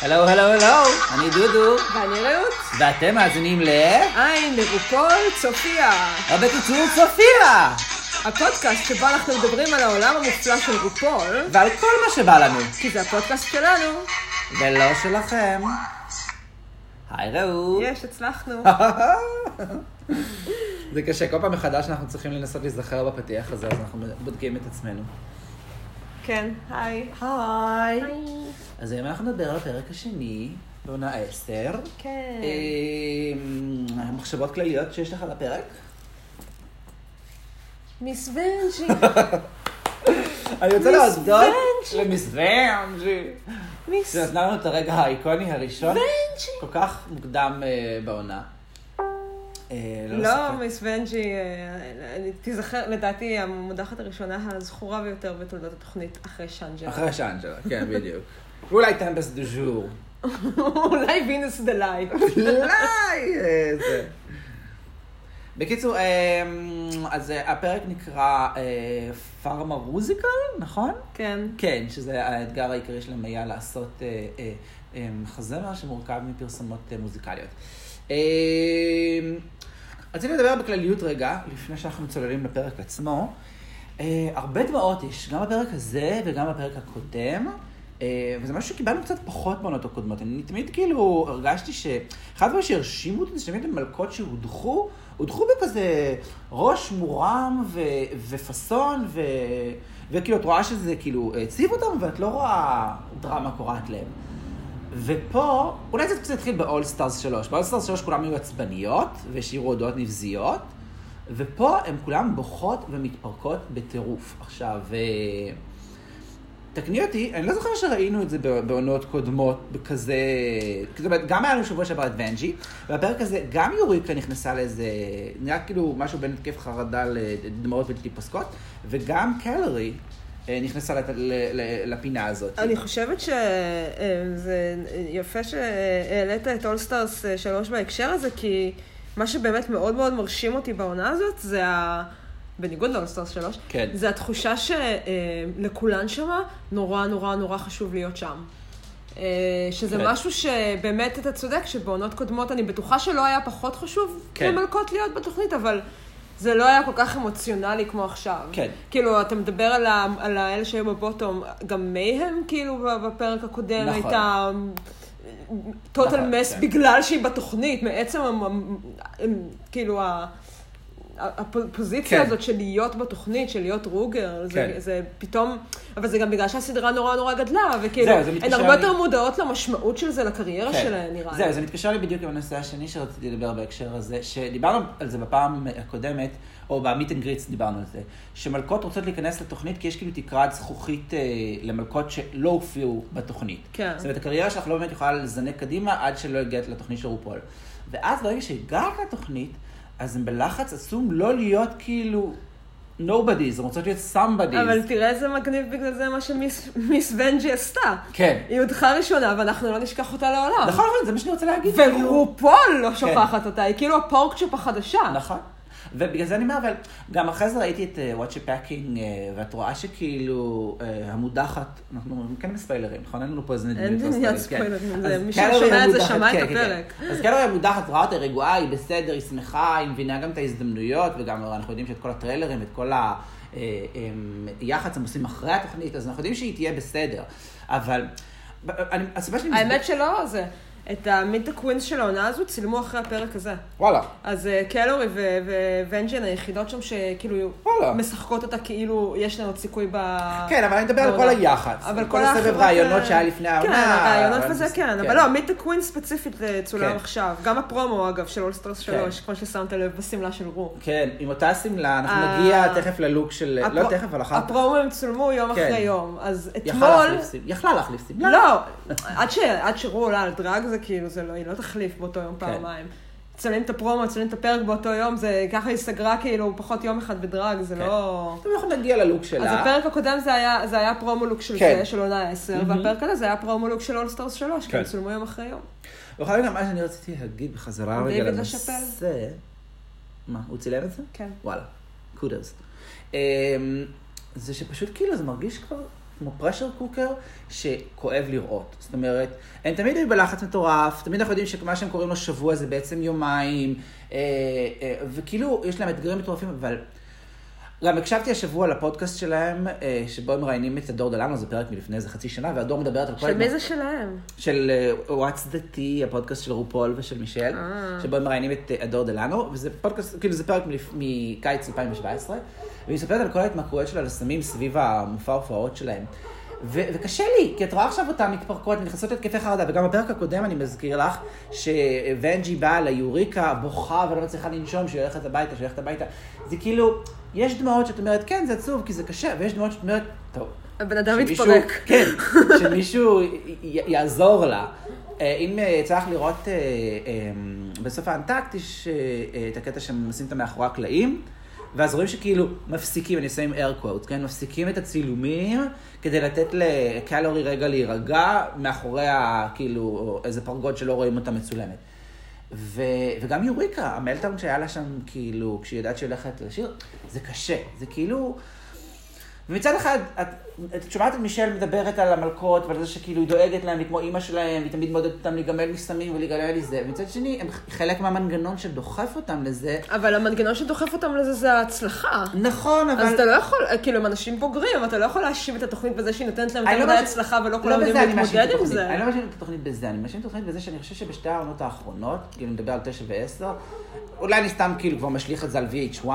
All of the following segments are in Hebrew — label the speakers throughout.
Speaker 1: הלו, הלו, הלו, אני דודו,
Speaker 2: ואני רעות.
Speaker 1: ואתם מאזינים ל...
Speaker 2: עין מרוקול צופיה.
Speaker 1: או בקיצור, צופיה!
Speaker 2: הפודקאסט שבו אנחנו מדברים על העולם המופלא של רופול,
Speaker 1: ועל כל מה שבא לנו,
Speaker 2: כי זה הפודקאסט שלנו.
Speaker 1: ולא שלכם. היי רעות.
Speaker 2: יש, הצלחנו.
Speaker 1: זה קשה, כל פעם מחדש אנחנו צריכים לנסות להיזכר בפתיח הזה, אז אנחנו בודקים את עצמנו.
Speaker 2: כן, היי.
Speaker 1: היי. אז היום אנחנו נדבר על הפרק השני, בעונה 10.
Speaker 2: כן.
Speaker 1: אה, מחשבות כלליות שיש לך על הפרק?
Speaker 2: מיס ונג'י.
Speaker 1: אני רוצה
Speaker 2: מיס
Speaker 1: להודות
Speaker 2: ונג'י.
Speaker 1: למיס ונג'י.
Speaker 2: מיס
Speaker 1: שנתנה לנו את הרגע האיקוני הראשון,
Speaker 2: ונג'י.
Speaker 1: כל כך מוקדם אה, בעונה. אה,
Speaker 2: לא,
Speaker 1: לספק.
Speaker 2: מיס ונג'י, אה, אני- תיזכר, לדעתי המודחת הראשונה הזכורה ביותר בתולדות התוכנית אחרי שאנג'ל.
Speaker 1: אחרי שאנג'לה, כן, בדיוק. ואולי טמבס דו ז'ור.
Speaker 2: אולי וינוס דה לייב.
Speaker 1: אולי איזה. בקיצור, אה, אז אה, הפרק נקרא פארמה רוזיקל, נכון?
Speaker 2: כן.
Speaker 1: כן, שזה האתגר העיקרי שלהם היה לעשות אה, אה, אה, חזמר שמורכב מפרסומות אה, מוזיקליות. אה, רציתי לדבר בכלליות רגע, לפני שאנחנו צוללים לפרק עצמו. אה, הרבה דמעות יש, גם בפרק הזה וגם בפרק הקודם. אה, וזה משהו שקיבלנו קצת פחות בעונות הקודמות. אני תמיד כאילו הרגשתי שאחד הדברים שהרשימו אותי זה שתמיד המלכות שהודחו, הודחו בכזה ראש מורם ו... ופאסון, ו... וכאילו את רואה שזה כאילו הציב אותם, ואת לא רואה דרמה קורעת להם. ופה, אולי זה קצת התחיל באולסטארס 3. באולסטארס 3 כולם היו עצבניות, והשאירו הודעות נבזיות, ופה הן כולן בוכות ומתפרקות בטירוף. עכשיו, אה, תקני אותי, אני לא זוכר שראינו את זה ב- בעונות קודמות, בכזה... זאת אומרת, גם היה לנו שבוע שעבר את ונג'י, והפרק הזה, גם יוריקה נכנסה לאיזה... נראה כאילו משהו בין התקף חרדה לדמעות בלתי פוסקות, וגם קלרי אה, נכנסה לת- ל- ל- לפינה הזאת.
Speaker 2: אני חושבת שזה יפה שהעלית את אולסטארס 3 בהקשר הזה, כי מה שבאמת מאוד מאוד מרשים אותי בעונה הזאת, זה ה... בניגוד לאולסטארס 3,
Speaker 1: כן.
Speaker 2: זה התחושה שלכולן שמה נורא נורא נורא חשוב להיות שם. אה, שזה
Speaker 1: כן.
Speaker 2: משהו שבאמת אתה צודק, שבעונות קודמות אני בטוחה שלא היה פחות חשוב
Speaker 1: כן.
Speaker 2: למלכות להיות בתוכנית, אבל זה לא היה כל כך אמוציונלי כמו עכשיו.
Speaker 1: כן.
Speaker 2: כאילו, אתה מדבר על, ה, על האלה שהיו בבוטום, גם מייהם, כאילו, בפרק הקודם
Speaker 1: נכון.
Speaker 2: הייתה טוטל
Speaker 1: נכון,
Speaker 2: מס
Speaker 1: כן.
Speaker 2: בגלל שהיא בתוכנית, מעצם, המ- המ- כאילו, ה- הפוזיציה
Speaker 1: כן.
Speaker 2: הזאת של להיות בתוכנית, של להיות רוגר, זה,
Speaker 1: כן.
Speaker 2: זה פתאום, אבל זה גם בגלל שהסדרה נורא נורא גדלה, וכאילו,
Speaker 1: זהו, זה
Speaker 2: הן
Speaker 1: מתקשר
Speaker 2: הרבה
Speaker 1: לי-
Speaker 2: יותר מודעות למשמעות של זה, לקריירה
Speaker 1: כן.
Speaker 2: שלהן, לא נראה לי.
Speaker 1: זהו, זה מתקשר לי בדיוק עם הנושא השני שרציתי לדבר בהקשר הזה, שדיברנו על זה בפעם הקודמת, או במיט אנד גריץ דיברנו על זה, שמלכות רוצות להיכנס לתוכנית כי יש כאילו תקרת זכוכית אה, למלכות שלא הופיעו בתוכנית.
Speaker 2: כן.
Speaker 1: זאת אומרת, הקריירה שלך לא באמת יכולה לזנק קדימה עד שלא הגעת לתוכנית של רופול. ואז ברגע שהגעת לתוכנית, אז הם בלחץ עצום לא להיות כאילו nobodies, הן רוצות להיות somebodies.
Speaker 2: אבל תראה איזה מגניב בגלל זה מה שמיס מיס ונג'י עשתה.
Speaker 1: כן.
Speaker 2: היא הודחה ראשונה, ואנחנו לא נשכח אותה לעולם.
Speaker 1: נכון, נכון, זה מה שאני רוצה להגיד. כאילו-
Speaker 2: ורופול לא שוכחת אותה, היא כאילו הפורקצ'ופ החדשה.
Speaker 1: נכון. ובגלל זה אני אומר, אבל גם אחרי זה ראיתי את אה, וואטשה פאקינג, אה, ואת רואה שכאילו אה, המודחת, אנחנו כן בספיילרים, נכון? אין לנו פה איזה
Speaker 2: אין
Speaker 1: נדמה לי
Speaker 2: עניין
Speaker 1: בספיילרים, כן.
Speaker 2: ספיילרים, זה-
Speaker 1: אז
Speaker 2: מי
Speaker 1: קלרי
Speaker 2: ששומע את זה
Speaker 1: המודחת,
Speaker 2: שמע את
Speaker 1: כן, כן, כן.
Speaker 2: הפרק.
Speaker 1: אז קלרי המודחת רואה אותה רגועה, היא בסדר, היא שמחה, היא מבינה גם את ההזדמנויות, וגם אנחנו יודעים שאת כל הטריילרים, את כל ה... אה, אה, יח"צ הם עושים אחרי התוכנית, אז אנחנו יודעים שהיא תהיה בסדר. אבל... ב- אני, הסיבה שאני...
Speaker 2: האמת שלא זה. את המיט הקווינס של העונה הזו צילמו אחרי הפרק הזה.
Speaker 1: וואלה.
Speaker 2: אז אה, קלורי ו- וונג'ן היחידות שם שכאילו
Speaker 1: וואלה.
Speaker 2: משחקות אותה כאילו יש להן עוד סיכוי ב...
Speaker 1: כן, אבל אני מדבר על
Speaker 2: בעונה.
Speaker 1: כל היח"צ.
Speaker 2: אבל
Speaker 1: על
Speaker 2: כל
Speaker 1: כל הסבב
Speaker 2: האחרות,
Speaker 1: רעיונות
Speaker 2: אה,
Speaker 1: שהיה לפני העונה.
Speaker 2: כן, הרעיונות
Speaker 1: אבל-
Speaker 2: וזה כן, אבל לא, מיט הקווין ספציפית אה, צולם
Speaker 1: כן.
Speaker 2: עכשיו. גם הפרומו אגב של אולסטרס
Speaker 1: כן.
Speaker 2: 3, כמו ששמת לב בשמלה של רו.
Speaker 1: כן, עם אותה שמלה, אנחנו
Speaker 2: אה.
Speaker 1: נגיע תכף ללוק של... לא
Speaker 2: הפרו-
Speaker 1: תכף, אבל אחר כך.
Speaker 2: הפרומו הם צולמו יום
Speaker 1: כן.
Speaker 2: אחרי יום, אז
Speaker 1: יכלה
Speaker 2: אתמול...
Speaker 1: להחליף שמלה. יכלה להחליף שמלה.
Speaker 2: לא, עד ש- עד שרו עולה על דרג זה כאילו, זה לא, היא לא תחליף באותו
Speaker 1: כן.
Speaker 2: יום פעמיים. צלם את הפרומו, צלם את הפרק באותו יום, זה ככה היא סגרה כאילו פחות יום אחד בדרג, זה
Speaker 1: כן.
Speaker 2: לא...
Speaker 1: טוב, אנחנו נגיע ללוק שלה.
Speaker 2: אז הפרק הקודם זה היה, זה היה פרומולוק של
Speaker 1: כן.
Speaker 2: זה, של עונה 10, והפרק הזה זה היה פרומולוק של אולסטארס 3, כי
Speaker 1: כן.
Speaker 2: הם צולמו יום אחרי יום.
Speaker 1: ואחר כך גם מה שאני רציתי להגיד בחזרה רגע
Speaker 2: דיוויד
Speaker 1: לנושא... מה, הוא צילם את זה?
Speaker 2: כן.
Speaker 1: אמ, וואלה, קודוס. זה שפשוט כאילו זה מרגיש כבר כמו פרשר קוקר שכואב לראות. זאת אומרת, הם תמיד היו בלחץ מטורף, תמיד אנחנו יודעים שמה שהם קוראים לו שבוע זה בעצם יומיים, אה, אה, וכאילו, יש להם אתגרים מטורפים, אבל... גם הקשבתי השבוע לפודקאסט שלהם, אה, שבו הם מראיינים את הדור דלנו, זה פרק מלפני איזה חצי שנה, והדור מדברת על כל...
Speaker 2: של מי זה שלהם?
Speaker 1: של אה, What's the Tea, הפודקאסט של רופול ושל מישל,
Speaker 2: אה.
Speaker 1: שבו הם מראיינים את אה, הדור דלנו, וזה פודקאסט, כאילו זה פרק מלפ- מקיץ 2017, והיא מספרת על כל ההתמכרויות שלה לסמים סביב המופע ההופעות שלהם. ו- וקשה לי, כי את רואה עכשיו אותן מתפרקות, נכנסות להתקפי חרדה, וגם בפרק הקודם אני מזכיר לך שוונג'י באה ליוריקה, בוכה ולא מצליחה לנשום, שהיא הולכת הביתה, שהיא הולכת הביתה. זה כאילו, יש דמעות שאת אומרת, כן, זה עצוב, כי זה קשה, ויש דמעות שאת אומרת, טוב,
Speaker 2: הבן אדם
Speaker 1: שמישהו-
Speaker 2: מתפרק.
Speaker 1: כן, שמישהו י- י- יעזור לה. אה, אם אה, יצא לך לראות אה, אה, בסוף האנטקט, יש אה, אה, את הקטע שהם עושים את המאחורי הקלעים, ואז רואים שכאילו מפסיקים, אני עושה עם air quotes, כן? מפסיקים את הצילומים כדי לתת לקלורי רגע להירגע מאחורי ה- כאילו איזה פרגוד שלא רואים אותה מצולמת. ו, וגם יוריקה, המלטאון שהיה לה שם, כאילו, כשהיא יודעת שהיא הולכת לשיר, זה קשה, זה כאילו... ומצד אחד, את, את שומעת את מישל מדברת על המלכות ועל זה שכאילו היא דואגת להם, היא כמו אימא שלהם, היא תמיד מודדת אותם להיגמל מסמים ולהיגמל מזה, ומצד שני, הם חלק מהמנגנון שדוחף אותם לזה.
Speaker 2: אבל המנגנון שדוחף אותם לזה זה ההצלחה.
Speaker 1: נכון, אבל...
Speaker 2: אז אתה לא יכול, כאילו, הם אנשים בוגרים, אתה לא יכול להאשים את התוכנית בזה שהיא נותנת להם
Speaker 1: אני
Speaker 2: יותר
Speaker 1: לא
Speaker 2: מדי
Speaker 1: מאשים-
Speaker 2: הצלחה ולא
Speaker 1: לא
Speaker 2: כולם יודעים
Speaker 1: בזה אני מאשים את
Speaker 2: להתמודד עם
Speaker 1: התוכנית.
Speaker 2: זה.
Speaker 1: אני לא מאשים את התוכנית בזה, אני מאשים את התוכנית בזה שאני חושב שבשתי העונות האחרונות, כאילו נדבר על תשע ועשר, אולי אני סתם כאילו כבר משליך את זה על VH1,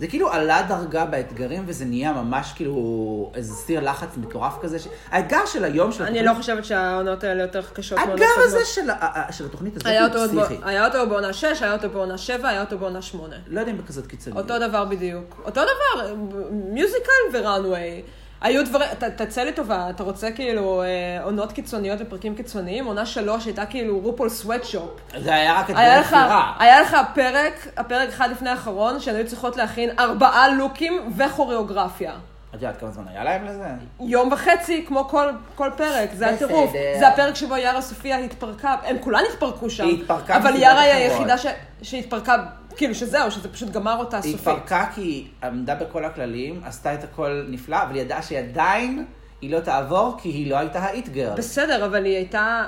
Speaker 1: זה כאילו עלה דרגה באתגרים וזה נהיה ממש כאילו איזה סיר לחץ מטורף כזה, ש- האתגר של היום של
Speaker 2: אני לא חושבת שהעונות האלה יותר קשות מהעונות
Speaker 1: האתגר הזה
Speaker 2: הקודמות.
Speaker 1: של ה- ה- ה- של התוכנית הזאת
Speaker 2: לא היה אותו
Speaker 1: הוא
Speaker 2: עוד
Speaker 1: פסיכי.
Speaker 2: בע- היה אותו בעונה 6, היה אותו בעונה 7, היה אותו בעונה 8.
Speaker 1: לא יודע אם בכזאת קיצוניות.
Speaker 2: אותו דבר בדיוק. אותו דבר, מיוזיקל וראנוויי. היו דברים, ת- תצא לטובה, אתה רוצה כאילו אה, עונות קיצוניות ופרקים קיצוניים? עונה 3 הייתה כאילו רופול סוואטשופ.
Speaker 1: זה היה רק
Speaker 2: היה
Speaker 1: אתגר
Speaker 2: לך, אה.
Speaker 1: בחירה.
Speaker 2: היה לך פרק, הפרק אחד לפני האחרון, שהן היו צריכות להכין ארבעה לוקים וכוריאוגרפיה.
Speaker 1: את יודעת כמה זמן היה להם
Speaker 2: אה,
Speaker 1: לזה?
Speaker 2: יום וחצי, כמו כל, כל פרק, זה
Speaker 1: בסדר.
Speaker 2: הטירוף. זה הפרק שבו יארה סופיה התפרקה, הן כולן התפרקו שם.
Speaker 1: היא התפרקה
Speaker 2: אבל
Speaker 1: מסיבות
Speaker 2: יארה היא
Speaker 1: אחרות.
Speaker 2: היחידה ש... שהתפרקה, כאילו שזהו, שזה פשוט גמר אותה
Speaker 1: היא
Speaker 2: סופית.
Speaker 1: התפרקה כי היא עמדה בכל הכללים, עשתה את הכל נפלא, אבל היא ידעה שעדיין היא לא תעבור, כי היא לא הייתה האיט גרל.
Speaker 2: בסדר, אבל היא הייתה...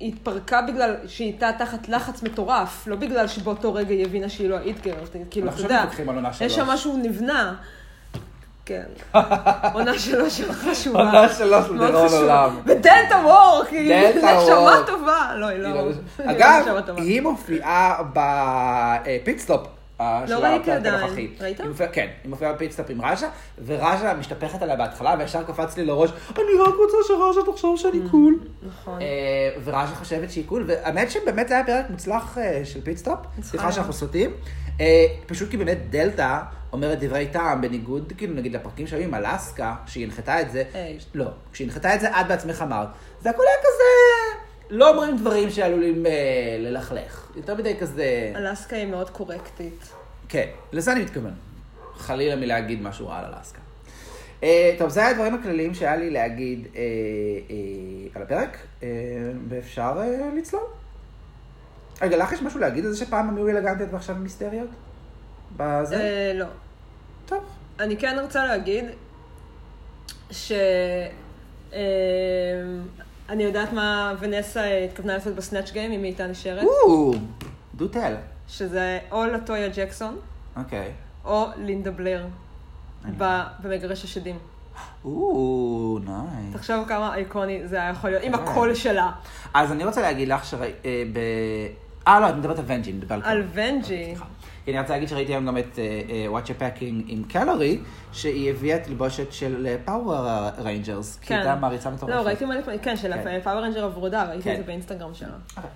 Speaker 2: היא התפרקה בגלל שהיא הייתה תחת לחץ מטורף, לא בגלל שבאותו רגע היא הבינה שהיא לא האיטגרפט, כאילו, אתה
Speaker 1: עכשיו
Speaker 2: יודע,
Speaker 1: מתווכחים על עונה
Speaker 2: יש
Speaker 1: שלוש.
Speaker 2: שם משהו נבנה. כן. עונה שלוש מאוד חשובה.
Speaker 1: עונה שלוש
Speaker 2: מאוד
Speaker 1: לדיראון
Speaker 2: חשובה.
Speaker 1: עולם.
Speaker 2: ודלתה וורק, היא
Speaker 1: דלתה
Speaker 2: נשמה
Speaker 1: וורק.
Speaker 2: טובה. לא, היא לא...
Speaker 1: היא
Speaker 2: היא
Speaker 1: לא-
Speaker 2: לא
Speaker 1: אגב,
Speaker 2: נשמה טובה.
Speaker 1: היא מופיעה אה, בפיטסטופ.
Speaker 2: לא ראיתי עדיין. ראית?
Speaker 1: כן, היא מופיעה בפיטסטופ עם ראז'ה, וראז'ה משתפכת עליה בהתחלה, וישר קפץ לי לראש, אני רק רוצה שראז'ה תחשוב שאני קול.
Speaker 2: נכון.
Speaker 1: אה, וראז'ה חושבת שהיא קול, והאמת שבאמת זה היה פרק מוצלח אה, של פיטסטופ, סליחה שאנחנו סוטים. אה, פשוט כי באמת דלתא אומרת דברי טעם, בניגוד כאילו נגיד לפרקים שהיו עם אלסקה, שהיא הנחתה את זה.
Speaker 2: היי.
Speaker 1: לא, כשהיא הנחתה את זה, את בעצמך אמרת. זה הכל היה כזה, לא אומרים דברים שעלולים אה, ללכלך. יותר מדי כזה,
Speaker 2: אלסקה היא מאוד קורקטית.
Speaker 1: כן, לזה אני מתכוון. חלילה מלהגיד משהו רע על אלסקה. אה, טוב, זה היה הדברים הכלליים שהיה לי להגיד אה, אה, על הפרק, אה, ואפשר אה, לצלול. רגע, לך יש משהו להגיד על זה שפעם הם היו אלגנטיות ועכשיו הם היסטריות? בזה?
Speaker 2: אה, לא.
Speaker 1: טוב.
Speaker 2: אני כן רוצה להגיד ש... אמ, אני יודעת מה ונסה התכוונה לעשות בסנאצ' גיים, אם היא הייתה נשארת,
Speaker 1: או, דו תל.
Speaker 2: שזה או לטויה ג'קסון
Speaker 1: אוקיי.
Speaker 2: או לינדה בלר ב- במגרש השדים.
Speaker 1: או, נייס.
Speaker 2: תחשוב כמה איקוני זה היה יכול להיות, עם
Speaker 1: כן.
Speaker 2: הקול שלה.
Speaker 1: אז אני רוצה להגיד לך שראי... אה, ב... אה, לא, את מדברת על ונג'י, אני מדבר על...
Speaker 2: על
Speaker 1: קלורי.
Speaker 2: ונג'י.
Speaker 1: אוקיי, סליחה. כי אני רוצה להגיד שראיתי היום גם את אה, וואטשה פאקינג עם קלורי, שהיא הביאה תלבושת של פאוור ריינג'רס, כי היא הייתה מעריצה מטורפת.
Speaker 2: לא, ראיתי מלא פעמים, כן, של
Speaker 1: כן.
Speaker 2: הפאוור רנג'ר הוורודה, ראיתי את
Speaker 1: כן.
Speaker 2: זה באינסטגרם שלה.
Speaker 1: אוקיי.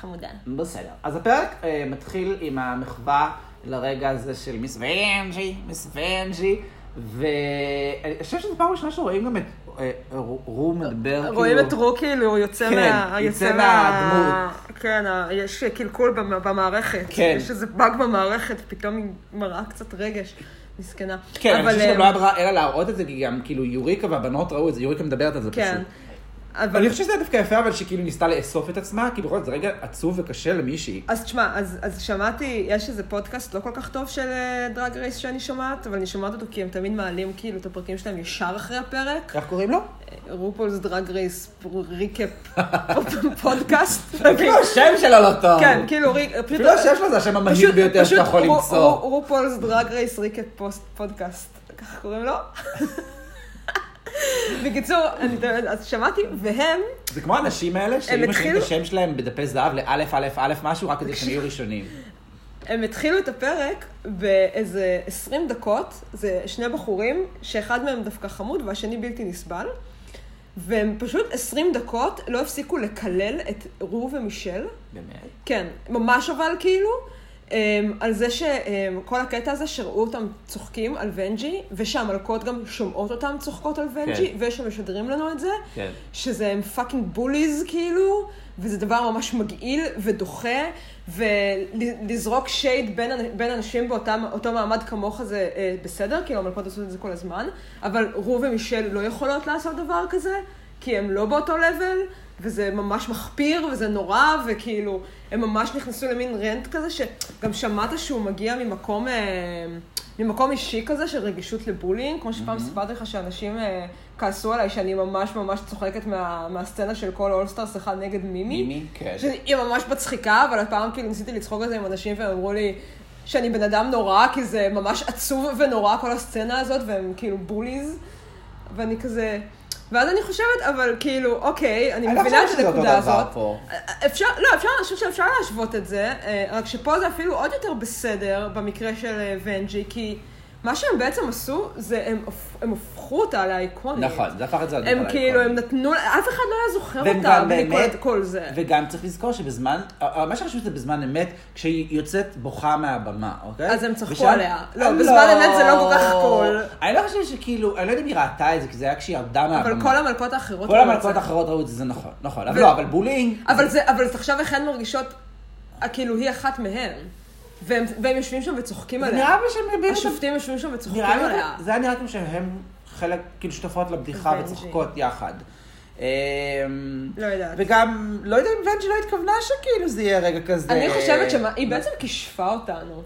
Speaker 2: חמודה.
Speaker 1: בסדר. אז הפרק אה, מתחיל עם המחווה לרגע הזה של מיס ונג'י, מיס ונג'י, ואני חושב שזו פעם ראשונה שרואים גם את אה, רו רו מדבר,
Speaker 2: רואים
Speaker 1: כאילו-
Speaker 2: את רו כאילו יוצא
Speaker 1: כן,
Speaker 2: מה...
Speaker 1: יוצא
Speaker 2: יוצא מה...
Speaker 1: מהדמות.
Speaker 2: כן, ה- יש קלקול במ- במערכת.
Speaker 1: כן.
Speaker 2: יש איזה באג במערכת, פתאום היא מראה קצת רגש. מסכנה.
Speaker 1: כן, אני
Speaker 2: אבל,
Speaker 1: חושב שגם
Speaker 2: אה,
Speaker 1: לא היה ברירה אלא להראות את זה, כי גם כאילו יוריקה והבנות ראו את זה, יוריקה מדברת על זה
Speaker 2: כן.
Speaker 1: פשוט.
Speaker 2: אבל...
Speaker 1: אני חושב שזה היה דווקא יפה, אבל שהיא כאילו ניסתה לאסוף את עצמה, כי בכל זאת זה רגע עצוב וקשה למישהי.
Speaker 2: אז תשמע, אז, אז שמעתי, יש איזה פודקאסט לא כל כך טוב של אה, דרג רייס שאני שומעת, אבל אני שומעת אותו כי הם תמיד מעלים כאילו את הפרקים שלהם ישר אחרי הפרק.
Speaker 1: איך קוראים לו?
Speaker 2: רופולס דרג רייס ריקאפ פודקאסט.
Speaker 1: אפילו השם שלו לא טוב.
Speaker 2: כן, כאילו, ריק- פשוט...
Speaker 1: אפילו לא השם שלו זה השם המהיר
Speaker 2: פשוט-
Speaker 1: ביותר שאתה
Speaker 2: פשוט
Speaker 1: יכול
Speaker 2: רו-
Speaker 1: למצוא.
Speaker 2: רו- רופולס דרג רייס ריקט פוסט פודקאסט, ככה קוראים לו. בקיצור, אני תמיד- אז שמעתי, והם,
Speaker 1: זה כמו האנשים האלה, שהיו משנים את
Speaker 2: התחילו-
Speaker 1: השם שלהם בדפי זהב לאלף, אלף, אלף משהו, רק כדי שהם יהיו ראשונים.
Speaker 2: הם התחילו את הפרק באיזה 20 דקות, זה שני בחורים, שאחד מהם דווקא חמוד והשני בלתי נסבל, והם פשוט 20 דקות לא הפסיקו לקלל את רו ומישל.
Speaker 1: באמת.
Speaker 2: כן, ממש אבל כאילו, um, על זה שכל הקטע הזה שראו אותם צוחקים על ונג'י, ושהמלכות גם שומעות אותם צוחקות על ונג'י,
Speaker 1: כן.
Speaker 2: כן. ושמשדרים לנו את זה,
Speaker 1: כן.
Speaker 2: שזה הם פאקינג בוליז כאילו, וזה דבר ממש מגעיל ודוחה, ולזרוק שייד בין, אנ- בין אנשים באותם- אותו מעמד כמוך זה אה, בסדר, כאילו המלכות עושות את זה כל הזמן, אבל רו ומישל לא יכולות לעשות דבר כזה, כי הם לא באותו לבל, וזה ממש מחפיר, וזה נורא, וכאילו, הם ממש נכנסו למין רנט כזה, שגם שמעת שהוא מגיע ממקום... אה, ממקום אישי כזה של רגישות לבולינג, כמו שפעם סיפרתי לך שאנשים אה, כעסו עליי שאני ממש ממש צוחקת מה, מהסצנה של כל אולסטארס אחד נגד מימי.
Speaker 1: מימי, כן.
Speaker 2: שהיא ממש מצחיקה, אבל הפעם כאילו ניסיתי לצחוק על זה עם אנשים והם אמרו לי שאני בן אדם נורא, כי זה ממש עצוב ונורא כל הסצנה הזאת, והם כאילו בוליז, ואני כזה... ואז אני חושבת, אבל כאילו, אוקיי, אני
Speaker 1: אני לא
Speaker 2: מבינה
Speaker 1: חושבת
Speaker 2: את
Speaker 1: שזה אותו
Speaker 2: הנקודה
Speaker 1: דבר
Speaker 2: הזאת.
Speaker 1: פה.
Speaker 2: אפשר, לא, אפשר, אני חושבת שאפשר להשוות את זה, אה, רק שפה זה אפילו עוד יותר בסדר במקרה של אה, ונג'י, כי מה שהם בעצם עשו, זה הם, הפ- הם הפכו אותה לאיקונית.
Speaker 1: נכון, זה הפך את זה לדבר
Speaker 2: הם כאילו,
Speaker 1: האיקוני.
Speaker 2: הם נתנו, לה- אף אחד לא היה זוכר
Speaker 1: והם
Speaker 2: אותה
Speaker 1: גם
Speaker 2: בלי
Speaker 1: באמת-
Speaker 2: כל, כל זה.
Speaker 1: וגם צריך לזכור שבזמן, אה, אה, מה שחשוב זה בזמן אמת, כשהיא יוצאת בוכה מהבמה, אוקיי?
Speaker 2: אז הם צחקו
Speaker 1: ושם-
Speaker 2: עליה. לא,
Speaker 1: אה,
Speaker 2: בזמן אמת זה לא כל כך הכל.
Speaker 1: אני לא חושבת שכאילו, אני לא יודע אם היא ראתה את זה, כי זה היה כשהיא ירדה מהבמה.
Speaker 2: אבל כל המלכות האחרות...
Speaker 1: כל
Speaker 2: ראו את
Speaker 1: המלכות
Speaker 2: זה.
Speaker 1: האחרות ראו את זה, זה נכון, נכון. אבל
Speaker 2: ו-
Speaker 1: לא, אוקיי, אבל בולינג,
Speaker 2: אבל זה, אבל תחשוב איך הן מרגישות, אה, כאילו, היא אחת מהן. והם, והם יושבים שם וצוחקים
Speaker 1: זה
Speaker 2: עליה.
Speaker 1: נראה לי שהם באמת...
Speaker 2: השופטים יושבים שם וצוחקים
Speaker 1: נראה לי,
Speaker 2: עליה.
Speaker 1: זה היה נראה כמו שהם חלק, כאילו שותפות לבדיחה
Speaker 2: ונג'י.
Speaker 1: וצוחקות יחד. אמ,
Speaker 2: לא יודעת.
Speaker 1: וגם, לא יודע אם ונג'י לא התכוונה שכאילו זה יהיה רגע כזה.
Speaker 2: אני חושבת שהיא בעצם כישפה אותנו.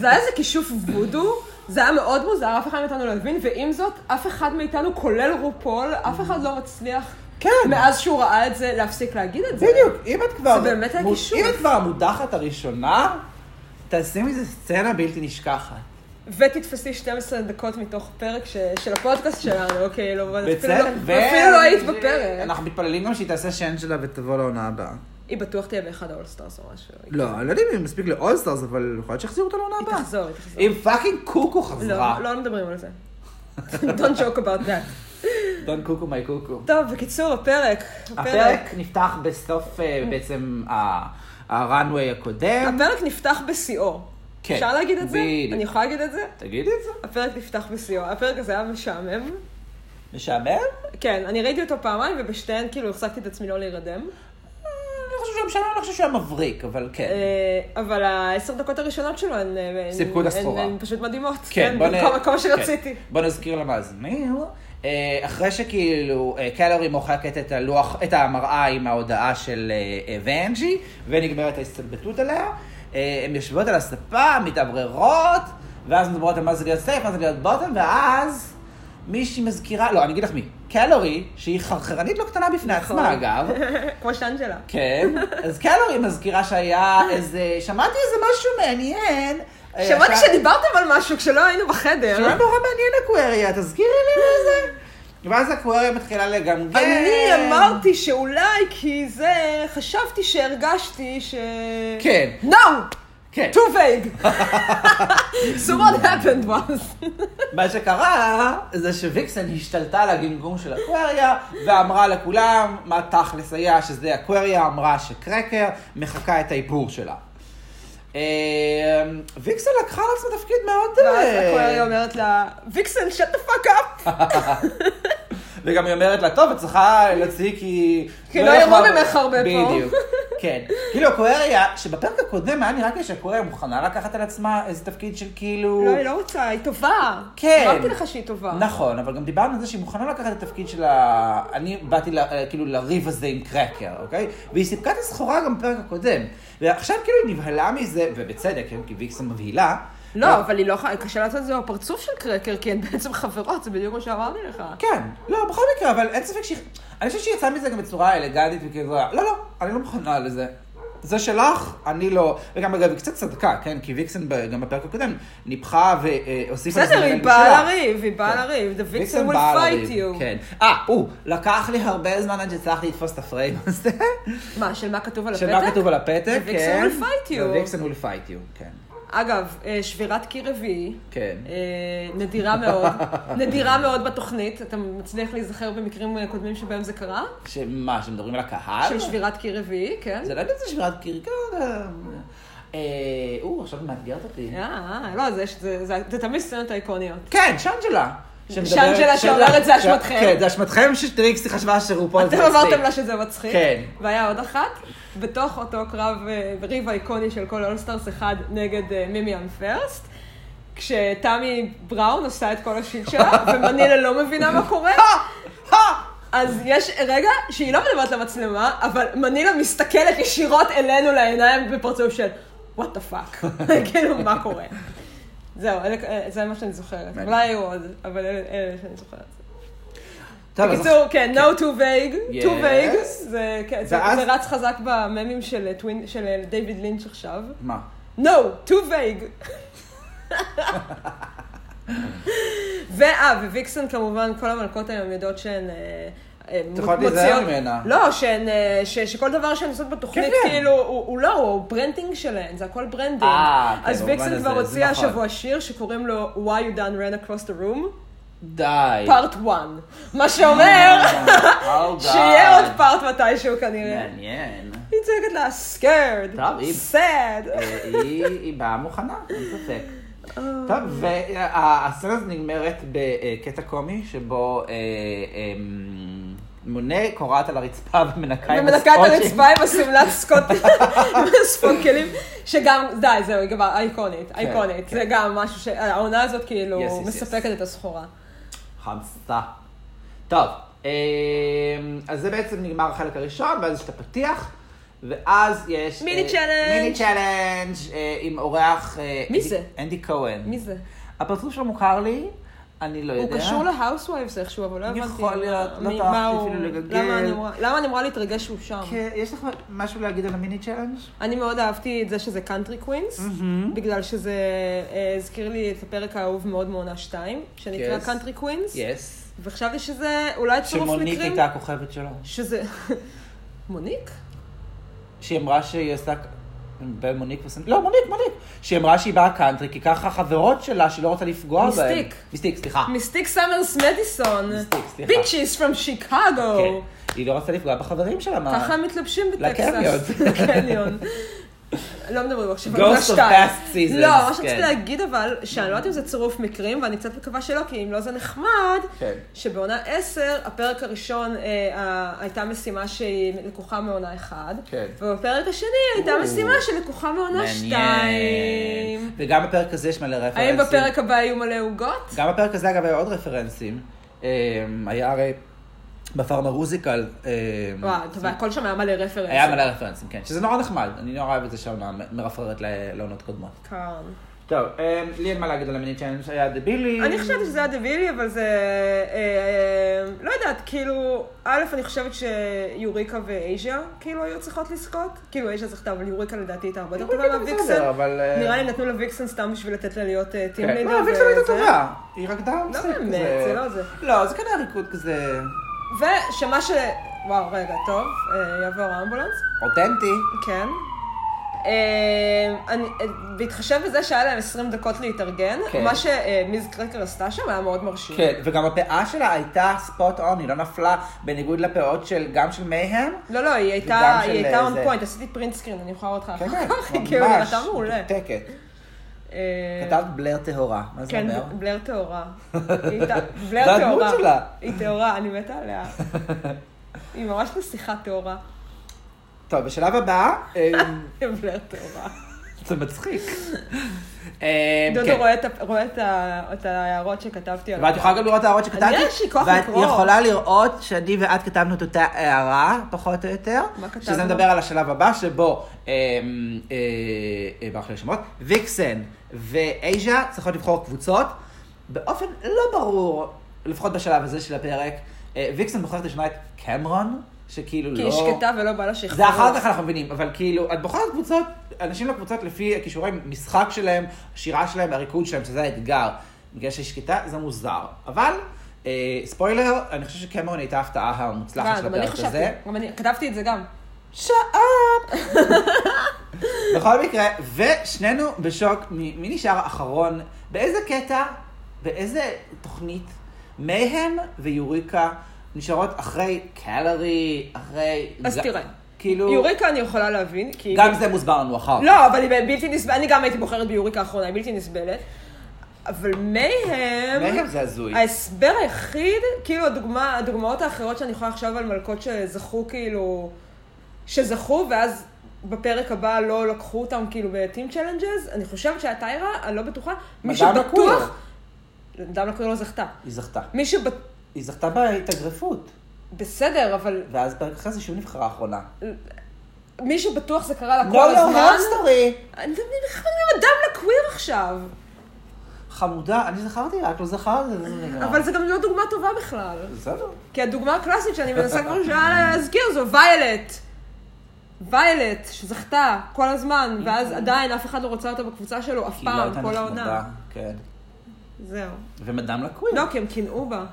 Speaker 2: זה היה איזה כישוף וודו, זה היה מאוד מוזר, אף אחד מאיתנו לא הבין, ועם זאת, אף אחד מאיתנו, כולל רופול, אף אחד לא מצליח,
Speaker 1: כן.
Speaker 2: מאז שהוא ראה את זה, להפסיק להגיד את זה.
Speaker 1: בדיוק, אם את כבר...
Speaker 2: זה באמת היה
Speaker 1: מו-
Speaker 2: כישוף.
Speaker 1: אם את כבר המודחת הראשונה, תעשי מזה סצנה בלתי נשכחת.
Speaker 2: ותתפסי 12 דקות מתוך פרק ש... של הפודקאסט שלנו, אוקיי, לא, אפילו,
Speaker 1: בצדק,
Speaker 2: לא- אפילו לא היית בפרק.
Speaker 1: אנחנו מתפללים גם שהיא תעשה שן שלה ותבוא לעונה הבאה.
Speaker 2: היא בטוח תהיה באחד האולסטארס או משהו.
Speaker 1: לא, אני לא יודע אם היא מספיק לאולסטארס, אבל יכול להיות שיחזירו אותה לעונה
Speaker 2: היא
Speaker 1: הבאה.
Speaker 2: תחזור, היא תחזור.
Speaker 1: אם פאקינג קוקו חזרה.
Speaker 2: לא, לא מדברים על זה. Don't joke about that.
Speaker 1: דון קוקו מיי קוקו.
Speaker 2: טוב, בקיצור, הפרק.
Speaker 1: הפרק נפתח בסוף
Speaker 2: כן.
Speaker 1: אה, בעצם ה- הראנוויי הקודם.
Speaker 2: הפרק נפתח בשיאו.
Speaker 1: כן,
Speaker 2: אפשר להגיד את זה?
Speaker 1: בדיוק.
Speaker 2: אני יכולה להגיד את זה?
Speaker 1: תגידי את זה.
Speaker 2: הפרק נפתח בשיאו. הפרק הזה היה משעמם.
Speaker 1: משעמם? אה,
Speaker 2: כן, אני ראיתי אותו פעמיים, ובשתיהן כאילו החזקתי את עצמי לא להירדם.
Speaker 1: אה, אני חושב שהוא משעמם, אני חושב שהוא היה מבריק, אבל כן.
Speaker 2: אה, אבל העשר דקות הראשונות שלו הן... אה, הן-
Speaker 1: סיפקו את
Speaker 2: הן-
Speaker 1: הסחורה.
Speaker 2: הן פשוט מדהימות.
Speaker 1: כן, בוא נ...
Speaker 2: במקום המקום
Speaker 1: כן.
Speaker 2: שרציתי.
Speaker 1: בוא נזכיר למאזינים. אה, אחרי שכאילו אה, קלרי מוחקת את הלוח, את המראה עם ההודעה של אה, אה, ונג'י, ונגמרת ההסתלבטות עליה, אה, הן יושבות על הספה, מתאווררות, ואז מדברות על מה זה להיות סייף, מה זה להיות בוטם, ואז מישהי מזכירה, לא, אני אגיד לך מי, קלרי, שהיא חרחרנית לא קטנה בפני
Speaker 2: נכון.
Speaker 1: עצמה אגב,
Speaker 2: כמו שאנג'לה.
Speaker 1: כן, אז קלרי מזכירה שהיה איזה, שמעתי איזה משהו מעניין. אה,
Speaker 2: שמעתי
Speaker 1: עכשיו-
Speaker 2: שדיברתם על משהו כשלא היינו
Speaker 1: שלא
Speaker 2: בחדר.
Speaker 1: לא נורא מעניין אקווריה, תזכירי לי מה זה. ואז אקווריה מתחילה לגמגם. כן.
Speaker 2: אני אמרתי שאולי כי זה, חשבתי שהרגשתי ש...
Speaker 1: כן.
Speaker 2: No!
Speaker 1: כן.
Speaker 2: too vague. so what happened was...
Speaker 1: מה שקרה זה שוויקסן השתלטה על הגמגום של אקווריה, ואמרה לכולם מה תכלס היה, שזה אקווריה אמרה שקרקר מחקה את האיפור שלה. אמ, ויקסן לקחה על עצמה תפקיד מאוד...
Speaker 2: ואז
Speaker 1: אה,
Speaker 2: אקווירי אומרת לה, ויקסן, shut the fuck up,
Speaker 1: וגם היא אומרת לה, טוב, את צריכה להוציא כי...
Speaker 2: כי לא יראו
Speaker 1: יחמר-
Speaker 2: ממך הרבה פה."
Speaker 1: בדיוק. כן. כאילו, הקוויריה, שבפרק הקודם היה נראה כאילו שהקוויריה מוכנה לקחת על עצמה איזה תפקיד של כאילו...
Speaker 2: לא, היא לא רוצה, היא טובה.
Speaker 1: כן.
Speaker 2: אמרתי לך שהיא טובה.
Speaker 1: נכון, אבל גם דיברנו על זה שהיא מוכנה לקחת את התפקיד של ה... אני באתי ל... כאילו לריב הזה עם קרקר, אוקיי? והיא סיפקה את הסחורה גם בפרק הקודם. ועכשיו כאילו היא נבהלה מזה, ובצדק, כן, כי ויקסון מבהילה.
Speaker 2: לא, אבל היא לא יכולה, קשה לעשות את זה בפרצוף של קרקר, כי הן בעצם חברות, זה בדיוק מה שאמרתי לך.
Speaker 1: כן, לא, בכל מקרה, אבל אין ספק שהיא... אני חושבת שהיא יצאה מזה גם בצורה אלגנטית וכאילו, לא, לא, אני לא מוכנה לזה. זה שלך, אני לא... וגם, אגב, היא קצת צדקה, כן? כי ויקסון ב- גם בפרק הקודם ניפחה והוסיפה...
Speaker 2: בסדר, היא
Speaker 1: לזמן משלה.
Speaker 2: באה לריב, היא באה לריב. The
Speaker 1: ויקסון
Speaker 2: victim will
Speaker 1: כן. באה
Speaker 2: fight
Speaker 1: לריב,
Speaker 2: you.
Speaker 1: כן. אה, הוא, לקח לי הרבה זמן עד שהצלחתי לתפוס את הפריים הזה.
Speaker 2: מה, של מה כתוב על הפתק?
Speaker 1: של מה כתוב על הפתק,
Speaker 2: The
Speaker 1: כן.
Speaker 2: victim will fight you.
Speaker 1: ויקסון will fight you, כן.
Speaker 2: אגב, אה, שבירת קיר רביעי.
Speaker 1: כן.
Speaker 2: אה, נדירה מאוד. נדירה מאוד בתוכנית. אתה מצליח להיזכר במקרים אה, קודמים שבהם זה קרה?
Speaker 1: שמה, שמדברים על הקהל?
Speaker 2: של שבירת קיר רביעי, כן.
Speaker 1: זה לא יודע אם זה שבירת קיר, כן. אה, או, עכשיו את מאתגרת אותי.
Speaker 2: אה, לא, זה- זה- זה זה תמיד סצנות אייקוניות.
Speaker 1: כן, שאנג'לה.
Speaker 2: שאנג'לה שאומרת, "זה אשמתכם".
Speaker 1: כן, זה אשמתכם שטריקסי חשבה שרופול
Speaker 2: אתם אמרתם לה שזה מצחיק.
Speaker 1: כן.
Speaker 2: והיה עוד אחת, בתוך אותו קרב אה, ריב איקוני של כל אולסטארס אחד נגד אה, מימי אמ פרסט, כשתמי בראון עושה את כל השילד שלה, ומנילה לא מבינה מה קורה. אה." אז יש רגע שהיא לא מדברת למצלמה, אבל מנילה מסתכלת ישירות אלינו לעיניים בפרצוף של what the fuck, כאילו מה קורה. זהו, אלה- אה, זה מה שאני זוכרת.
Speaker 1: מעניין.
Speaker 2: אולי היו עוד, אבל אלה אלה שאני זוכרת.
Speaker 1: טוב, אז
Speaker 2: בקיצור, כן, no too vague, too
Speaker 1: Yes.
Speaker 2: vague, זה כן, זה-
Speaker 1: ואז-
Speaker 2: זה רץ חזק בממים של אה, טווין- של אה, דיוויד לינץ' עכשיו.
Speaker 1: מה?
Speaker 2: No, too vague. ואה, אה, וויקסון כמובן, כל המלכות היום יודעות שהן... אה, אה,
Speaker 1: צריכות
Speaker 2: מוציאות-
Speaker 1: להיזהר ממנה.
Speaker 2: לא, שהן, אה, ש- שכל דבר שהן עושות בתוכנית,
Speaker 1: כן, כן.
Speaker 2: כאילו, הוא הוא לא, הוא ברנדינג שלהן, זה הכל ברנדינג.
Speaker 1: אה, כן,
Speaker 2: אז
Speaker 1: במובן
Speaker 2: ויקסון
Speaker 1: הזה,
Speaker 2: כבר
Speaker 1: זה
Speaker 2: הוציאה
Speaker 1: נכון.
Speaker 2: השבוע שיר שקוראים לו Why You Done Ran Across the Room,
Speaker 1: די.
Speaker 2: part 1. מה שאומר
Speaker 1: Oh, God.
Speaker 2: שיהיה עוד part מתישהו כנראה.
Speaker 1: מעניין.
Speaker 2: היא צועקת לה, scared,
Speaker 1: כן. טוב, היא-
Speaker 2: sad.
Speaker 1: אה, היא היא באה מוכנה, אין ספק.
Speaker 2: אה.
Speaker 1: טוב, והסצנה הזאת נגמרת בקטע קומי, שבו אה, אה, מונה קורעת על הרצפה ומנקה עם
Speaker 2: ומנקה את
Speaker 1: הסקוטש.
Speaker 2: הרצפה עם השמלת סקוט, עם הספונקלים, שגם, די, זהו, היא כבר אייקונית, אייקונית.
Speaker 1: כן.
Speaker 2: זה גם משהו ש... העונה הזאת
Speaker 1: Yes,
Speaker 2: כאילו
Speaker 1: yes, yes.
Speaker 2: מספקת את הסחורה.
Speaker 1: חמסה. טוב, אמ, אז זה בעצם נגמר החלק הראשון, ואז יש את הפתיח, ואז יש...
Speaker 2: מיני
Speaker 1: אה,
Speaker 2: צ'אלנג'.
Speaker 1: מיני צ'אלנג' אה, עם אורח... אה,
Speaker 2: מי
Speaker 1: אנדי-
Speaker 2: זה?
Speaker 1: אנדי כהן.
Speaker 2: מי זה?
Speaker 1: הפרצוף שלו מוכר לי, אני לא
Speaker 2: הוא
Speaker 1: יודע.
Speaker 2: קשור להאוסווייבס איכשהו, אבל לא הבנתי.
Speaker 1: יכול להיות, לא
Speaker 2: מי-
Speaker 1: טרחתי
Speaker 2: מה הוא-
Speaker 1: אפילו לגגל.
Speaker 2: למה אני אמורה- למה אני אמורה להתרגש שהוא שם?
Speaker 1: כן, יש לך משהו להגיד על המיני צ'אלנג'?
Speaker 2: אני מאוד אהבתי את זה שזה קאנטרי קווינס,
Speaker 1: Mm-hmm.
Speaker 2: בגלל שזה אה, הזכיר לי את הפרק האהוב מאוד מעונה 2, שנקרא
Speaker 1: Yes.
Speaker 2: קאנטרי קווינס,
Speaker 1: יס.
Speaker 2: וחשבתי שזה אולי צירוף מקרים.
Speaker 1: שמוניק הייתה הכוכבת שלו.
Speaker 2: שזה... מוניק?
Speaker 1: שהיא אמרה שהיא עשתה... בין מוניק וסנ... לא, מוניק, מוניק. שהיא אמרה שהיא באה קאנטרי, כי ככה חברות שלה, שהיא לא רוצה לפגוע
Speaker 2: מיסטיק.
Speaker 1: בהן. מיסטיק, סליחה.
Speaker 2: מיסטיק סמרס מדיסון.
Speaker 1: מיסטיק, סליחה.
Speaker 2: ביצ'יס פרום שיקגו.
Speaker 1: כן. היא לא רוצה לפגוע בחברים שלה, מה?
Speaker 2: ככה הם מתלבשים
Speaker 1: אה, לקניון.
Speaker 2: בטקסס. לקניון. לא מדברים עכשיו
Speaker 1: Ghost
Speaker 2: על עונה
Speaker 1: of
Speaker 2: שתיים.
Speaker 1: past seasons,
Speaker 2: לא, מה
Speaker 1: כן.
Speaker 2: שרציתי להגיד אבל, שאני לא יודעת אם זה צירוף מקרים, ואני קצת מקווה שלא, כי אם לא זה נחמד,
Speaker 1: כן.
Speaker 2: שבעונה 10, הפרק הראשון אה, ה- הייתה משימה שהיא לקוחה מעונה 1,
Speaker 1: כן.
Speaker 2: ובפרק השני הייתה
Speaker 1: או.
Speaker 2: משימה שלקוחה מעונה 2.
Speaker 1: וגם בפרק הזה יש מלא רפרנסים.
Speaker 2: האם בפרק הבא יהיו מלא עוגות?
Speaker 1: גם בפרק הזה, אגב, היה עוד רפרנסים. אמ, היה הרי בפארמרוזיקל. אמ,
Speaker 2: וואו, טוב, הכל שם היה מלא רפרנסים.
Speaker 1: היה מלא רפרנסים, כן. שזה נורא נחמד. אני נורא אוהב את זה שהעונה מרפררת ל- לעונות קודמות.
Speaker 2: כאן.
Speaker 1: טוב, אמ, לי אין מה להגיד על המיני צ'אלנג' היה דבילי.
Speaker 2: אני חשבתי שזה היה דבילי, אבל זה... אה, לא יודעת, כאילו, א', אני חושבת שיוריקה ואייז'ה, כאילו, היו צריכות לזכות. כאילו, אייז'ה זכתה, אבל יוריקה לדעתי הייתה הרבה יותר
Speaker 1: יוריקה
Speaker 2: טובה
Speaker 1: גם לא בסדר,
Speaker 2: מהוויקסן.
Speaker 1: אבל, אה,
Speaker 2: נראה לי נתנו לוויקסן סתם בשביל לתת לה להיות אה, טים
Speaker 1: כן.
Speaker 2: לידר.
Speaker 1: לא, הוויקסון הייתה
Speaker 2: וזה.
Speaker 1: טובה. היא רקדה על
Speaker 2: לא
Speaker 1: סט
Speaker 2: באמת,
Speaker 1: כזה.
Speaker 2: זה לא זה.
Speaker 1: לא, זה כנראה ריקוד כזה
Speaker 2: ושמה ש... וואו, רגע, טוב, אה, יעבור האמבולנס.
Speaker 1: אותנטי.
Speaker 2: כן. אה, אני- אה, בהתחשב בזה שהיה להם 20 דקות להתארגן,
Speaker 1: כן.
Speaker 2: מה שמיז קרקר עשתה שם היה מאוד מרשים.
Speaker 1: כן, וגם הפאה שלה הייתה ספוט און, היא לא נפלה בניגוד לפאות של, גם של מייהם.
Speaker 2: לא, לא, היא
Speaker 1: וגם
Speaker 2: הייתה,
Speaker 1: של אה,
Speaker 2: היא הייתה און
Speaker 1: זה.
Speaker 2: פוינט, עשיתי פרינט סקרין, אני יכולה לראות לך
Speaker 1: כן,
Speaker 2: אחר
Speaker 1: כן,
Speaker 2: כך, היא
Speaker 1: ממש.
Speaker 2: כאילו נראתה מעולה.
Speaker 1: מתקתקת.
Speaker 2: אה,
Speaker 1: כתבת בלר טהורה, מה זה
Speaker 2: כן,
Speaker 1: אומר?
Speaker 2: בלר טהורה. היא הייתה- בלר
Speaker 1: זה הדמות
Speaker 2: טהורה.
Speaker 1: שלה.
Speaker 2: היא טהורה, אני מתה עליה. היא ממש נסיכה טהורה.
Speaker 1: טוב, בשלב הבא, אמ,
Speaker 2: בלי התורה.
Speaker 1: זה מצחיק. אמ,
Speaker 2: דודו
Speaker 1: כן.
Speaker 2: רואה את ה- רואה את ה- את ההערות שכתבתי עליו.
Speaker 1: ואת יכולה גם לראות את ההערות שכתבתי.
Speaker 2: אני, יש לי כוח
Speaker 1: ואת
Speaker 2: לקרוא.
Speaker 1: יכולה לראות שאני ואת כתבנו את אותה הערה, פחות או יותר.
Speaker 2: מה כתבנו?
Speaker 1: שזה מדבר על השלב הבא, שבו, אה, אה, אה, ברח לי השמות, ויקסן ואייז'ה צריכות לבחור קבוצות. באופן לא ברור, לפחות בשלב הזה של הפרק, אה, ויקסן בוחרת לשמוע את קמרון, שכאילו לא...
Speaker 2: כי היא שקטה ולא בא לה שיחזרו.
Speaker 1: זה אחר כך אנחנו מבינים, אבל כאילו, את בוחרת קבוצות, אנשים לקבוצות לפי הכישורי משחק שלהם, השירה שלהם, הריקוד שלהם, שזה האתגר. בגלל שהיא שקטה, זה מוזר. אבל, אה, ספוילר, אני חושב שקמרון הייתה ההפתעה המוצלחת
Speaker 2: מה,
Speaker 1: של
Speaker 2: כן, גם אני
Speaker 1: הפרק
Speaker 2: חשבתי,
Speaker 1: הזה.
Speaker 2: גם אני, כתבתי את זה גם.
Speaker 1: שעה! בכל מקרה, ושנינו בשוק, מ- מי נשאר האחרון? באיזה קטע, באיזה תוכנית, מהם ויוריקה נשארות אחרי קלרי, אחרי...
Speaker 2: אז
Speaker 1: ג-
Speaker 2: תראה,
Speaker 1: כאילו...
Speaker 2: יוריקה אני יכולה להבין, כי...
Speaker 1: גם זה מוסבר לנו אחר כך.
Speaker 2: לא, אבל היא בלתי נסבלת, אני גם הייתי בוחרת ביוריקה האחרונה, היא בלתי נסבלת. אבל מהם...
Speaker 1: מהם זה הזוי.
Speaker 2: אה, ההסבר היחיד, כאילו הדוגמה, הדוגמאות האחרות שאני יכולה לחשוב על מלכות שזכו כאילו, שזכו ואז בפרק הבא לא לקחו אותם כאילו בטים צ'לנג'ז, אני חושבת שהיה טיירה, אני לא בטוחה, מי
Speaker 1: מדאם לקויר.
Speaker 2: שבטוח, דן לקוי לא זכתה,
Speaker 1: היא זכתה.
Speaker 2: מי שבט...
Speaker 1: היא זכתה בהתאגרפות.
Speaker 2: בסדר, אבל
Speaker 1: ואז פרק אחרי זה שוב נבחרה האחרונה.
Speaker 2: מי שבטוח זה קרה לה
Speaker 1: לא,
Speaker 2: כל
Speaker 1: לא,
Speaker 2: הזמן,
Speaker 1: הורד סטורי.
Speaker 2: אני בכלל עם אדם לקוויר עכשיו,
Speaker 1: חמודה, אני זכרתי, רק לא זכרת. זה נגמר.
Speaker 2: אבל זה גם לא דוגמה טובה בכלל.
Speaker 1: בסדר.
Speaker 2: כי הדוגמה הקלאסית שאני מנסה כבר שעה להזכיר זו ויילט. ויילט, שזכתה כל הזמן, ואז עדיין אף אחד לא רוצה אותה בקבוצה שלו אף
Speaker 1: כי היא לא הייתה
Speaker 2: פעם, כל
Speaker 1: נחמדה.
Speaker 2: העונה.
Speaker 1: כן.
Speaker 2: זהו.
Speaker 1: ומדאם לקוויר.
Speaker 2: לא, כי הם קינאו בה.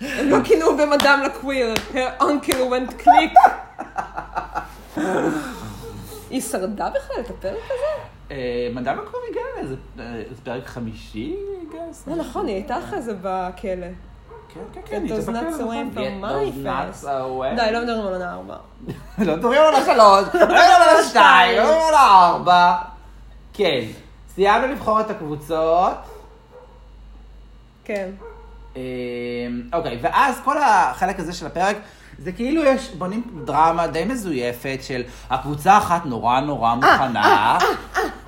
Speaker 2: הם לא קינאו במדאם לקוויר. Her uncle went click. היא שרדה בכלל את הפרק הזה?
Speaker 1: אה, מדאם לקוויר הגיעה לאיזה אה, זה פרק חמישי, I guess.
Speaker 2: לא, נכון, היא הייתה אחרי זה בכלא.
Speaker 1: כן, כן, כן. היא
Speaker 2: Those
Speaker 1: התאבקה,
Speaker 2: nuts
Speaker 1: נכון.
Speaker 2: away from
Speaker 1: Yeah,
Speaker 2: my
Speaker 1: those nuts
Speaker 2: face.
Speaker 1: away.
Speaker 2: די, לא מדברים על עונה ארבע.
Speaker 1: לא מדברים על השלוש, לא מדברים על השתיים, לא מדברים על הארבע. כן. סיימנו לבחור את הקבוצות.
Speaker 2: כן.
Speaker 1: אמ, אוקיי, ואז כל החלק הזה של הפרק, זה כאילו יש, בונים דרמה די מזויפת של הקבוצה אחת נורא נורא מוכנה,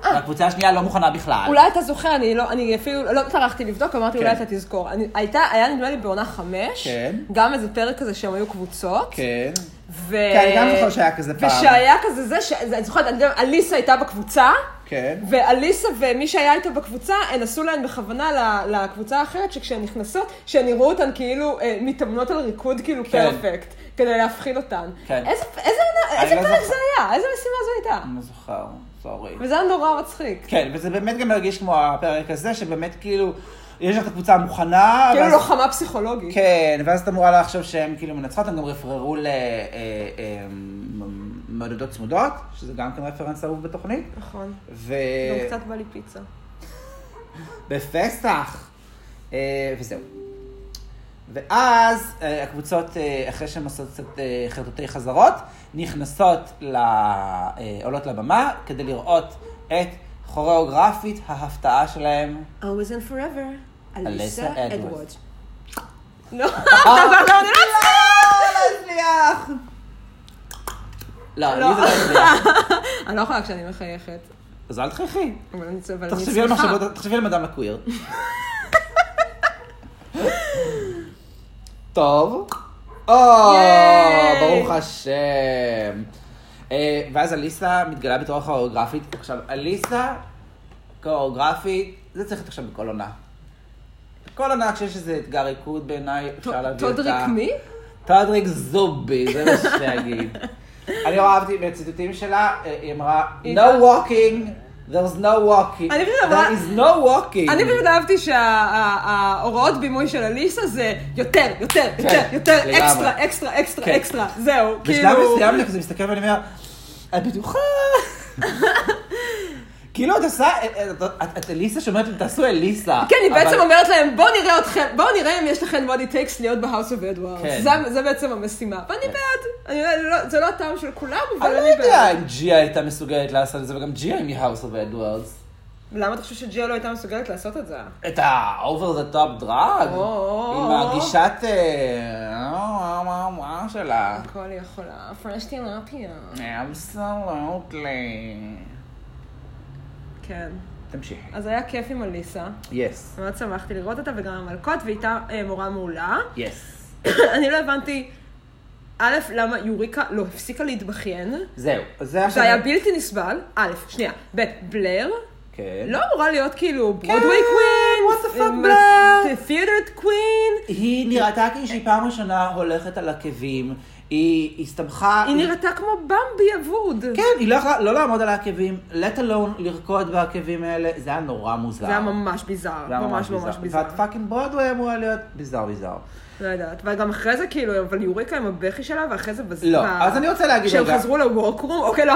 Speaker 1: והקבוצה השנייה לא מוכנה בכלל.
Speaker 2: אולי אתה זוכר, אני לא, אני אפילו לא טרחתי לבדוק, אמרתי
Speaker 1: כן.
Speaker 2: אולי אתה תזכור. אני, הייתה, היה נדמה לי בעונה חמש,
Speaker 1: כן.
Speaker 2: גם איזה פרק כזה שהם היו קבוצות.
Speaker 1: כן.
Speaker 2: ו...
Speaker 1: כן, אני גם זוכר שהיה כזה פעם.
Speaker 2: ושהיה כזה זה, ש... זה- אני זוכרת, אני גם- אליסה הייתה בקבוצה,
Speaker 1: כן.
Speaker 2: ואליסה ומי שהיה איתה בקבוצה, הן עשו להן בכוונה ל- לקבוצה האחרת, שכשהן נכנסות, שהן יראו אותן כאילו אה, מתאמנות על ריקוד כאילו
Speaker 1: כן.
Speaker 2: פרפקט, כדי להפחיד אותן.
Speaker 1: כן.
Speaker 2: איזה, איזה,
Speaker 1: אני
Speaker 2: איזה
Speaker 1: לא
Speaker 2: פרק זה
Speaker 1: זוכר.
Speaker 2: היה? איזה משימה זו הייתה?
Speaker 1: אני לא זוכר, סורי.
Speaker 2: וזה היה נורא מצחיק.
Speaker 1: כן, וזה באמת גם מרגיש כמו הפרק הזה, שבאמת כאילו, יש לך את הקבוצה המוכנה,
Speaker 2: כאילו
Speaker 1: ואז-
Speaker 2: לוחמה פסיכולוגית.
Speaker 1: כן, ואז את אמורה לחשוב שהן כאילו מנצחות, הן גם רפררו אה, למעודדות צמודות, שזה גם כן רפרנס אהוב בתוכנית.
Speaker 2: נכון.
Speaker 1: ו...
Speaker 2: גם קצת בא לי פיצה.
Speaker 1: בפסח. אה, וזהו. ואז אה, הקבוצות, אה, אחרי שהן עושות קצת אה, חרטוטי חזרות, נכנסות, ל... אה, עולות לבמה כדי לראות את כוריאוגרפית ההפתעה שלהם.
Speaker 2: Always and forever,
Speaker 1: אליסה אדוורדס. אה.
Speaker 2: אליסה אדוורדס. לא, אתה כבר לא נראה
Speaker 1: להצליח! לא, לי
Speaker 2: לא.
Speaker 1: זה לא הצליח.
Speaker 2: אני לא יכולה כשאני מחייכת.
Speaker 1: אז אל תחייכי.
Speaker 2: אבל אני אבל אני
Speaker 1: תחשבי על
Speaker 2: שמחה.
Speaker 1: מחשבות, תחשבי על מדאם לקוויר. טוב. או,
Speaker 2: ייי!
Speaker 1: ברוך השם. אה, ואז אליסה מתגלה בתור כוריאוגרפית. עכשיו, אליסה, כוריאוגרפית, זה צריך להיות עכשיו בכל עונה. כל עונה כשיש איזה אתגר ריקוד בעיניי, אפשר להביא אותה.
Speaker 2: טודריק מי?
Speaker 1: טודריק זובי, זה מה שאגיד. אני
Speaker 2: לא
Speaker 1: נורא אהבתי מהציטוטים שלה, אה, היא אמרה,
Speaker 2: היא
Speaker 1: No
Speaker 2: גם-
Speaker 1: walking, there's no walking.
Speaker 2: אני פשוט אמרה-
Speaker 1: There is no walking.
Speaker 2: אני פשוט אהבתי שההוראות בימוי של אליסה זה יותר, יותר, יותר, יותר,
Speaker 1: כן, לגמרי.
Speaker 2: אקסטרה, אקסטרה,
Speaker 1: כן.
Speaker 2: אקסטרה, אקסטרה, זהו,
Speaker 1: בשלב
Speaker 2: כאילו...
Speaker 1: מסוים אני כזה מסתכל ואני אומר, את בטוחה? כאילו את עושה, את- את- את אליסה שאומרת לי, תעשו אליסה.
Speaker 2: כן, היא
Speaker 1: אבל-
Speaker 2: בעצם אומרת להם, בואו נראה אתכם, בואו נראה אם יש לכם what it takes להיות ב-house of Edwards.
Speaker 1: כן.
Speaker 2: זה- זה בעצם המשימה. ואני בעד. אני לא- זה לא הטעם של כולם, אבל
Speaker 1: אני
Speaker 2: אני
Speaker 1: לא
Speaker 2: בעד.
Speaker 1: יודע אם ג'יה הייתה מסוגלת לעשות את זה, וגם ג'יה היא מ-house of Edwards.
Speaker 2: למה אתה חושב שג'יה לא הייתה מסוגלת לעשות את זה?
Speaker 1: את ה-over the top drug?
Speaker 2: או,
Speaker 1: עם
Speaker 2: או.
Speaker 1: הגישת... אה, וואו, וואו, וואו שלה.
Speaker 2: הכל יכולה, פרש תינרפיה. אוקיי.
Speaker 1: Absolutely.
Speaker 2: כן.
Speaker 1: תמשיכי.
Speaker 2: אז היה כיף עם אליסה,
Speaker 1: יס.
Speaker 2: מאוד שמחתי לראות אותה וגם המלכות, והייתה אה, מורה מעולה.
Speaker 1: יס.
Speaker 2: אני לא הבנתי, א', למה יוריקה לא הפסיקה להתבכיין,
Speaker 1: זהו. אז זה
Speaker 2: זה היה
Speaker 1: עכשיו-
Speaker 2: בלתי נסבל, א', שנייה, ב', בלר,
Speaker 1: כן.
Speaker 2: לא אמורה להיות כאילו ברודווי
Speaker 1: what the fuck,
Speaker 2: קווין,
Speaker 1: בלר?
Speaker 2: תיאטרד קווין,
Speaker 1: היא נראתה כאילו שהיא פעם ראשונה הולכת על עקבים. היא הסתבכה...
Speaker 2: היא נראתה כמו במבי אבוד.
Speaker 1: אה, כן, היא לא יכלה לא לעמוד על העקבים, let alone לרקוד בעקבים האלה, זה היה נורא מוזר.
Speaker 2: זה היה ממש ביזאר,
Speaker 1: זה היה
Speaker 2: ממש ממש ביזאר.
Speaker 1: ואת פאקינג ברודווי אמורה להיות ביזר ביזר.
Speaker 2: לא יודעת, וגם אחרי זה כאילו, אבל יוריקה עם הבכי שלה, ואחרי זה בזמן.
Speaker 1: לא, אז אני רוצה להגיד
Speaker 2: כשהם
Speaker 1: רגע.
Speaker 2: חזרו לוורקרום, אוקיי, לא,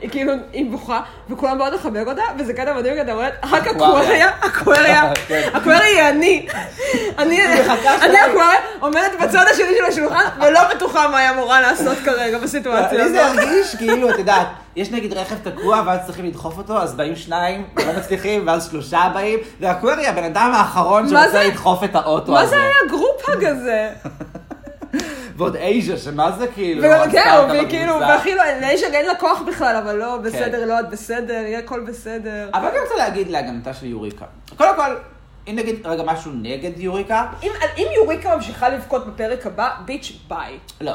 Speaker 2: היא כאילו, היא בוכה, וכולם באות לחבק אותה, וזה קטע מדהים, כי אתה אומרת, רק
Speaker 1: אקווריה."
Speaker 2: אקווריה, אקווריה,
Speaker 1: כן.
Speaker 2: אקווריה היא אני. אני
Speaker 1: מחכה
Speaker 2: אני
Speaker 1: שלא-
Speaker 2: אקווריה עומדת בצד השני של השולחן, ולא בטוחה מה היא אמורה לעשות כרגע בסיטואציה
Speaker 1: לא, לי זה
Speaker 2: הזאת.
Speaker 1: הרגיש כאילו, את יודעת, יש נגיד רכב תקוע ואז צריכים לדחוף אותו, אז באים שניים, לא מצליחים, ואז שלושה באים, והקווירי הבן אדם האחרון
Speaker 2: מה
Speaker 1: שרוצה
Speaker 2: זה-
Speaker 1: לדחוף את האוטו
Speaker 2: מה
Speaker 1: הזה.
Speaker 2: זה היה גרופהג הזה?
Speaker 1: כאילו, ועוד אייז'ה, שמה זה כאילו?
Speaker 2: כן,
Speaker 1: הסטארט-אפ
Speaker 2: והיא כאילו,
Speaker 1: המוזר.
Speaker 2: והכי לא, לאישה אין לה כוח בכלל, אבל לא,
Speaker 1: כן.
Speaker 2: בסדר, לא, את בסדר, יהיה הכל בסדר.
Speaker 1: אבל אני רוצה להגיד להגנתה של יוריקה. קודם כל, אם נגיד רגע משהו נגד יוריקה,
Speaker 2: אם, אם יוריקה ממשיכה לבכות בפרק הבא, ביץ' ביי.
Speaker 1: לא,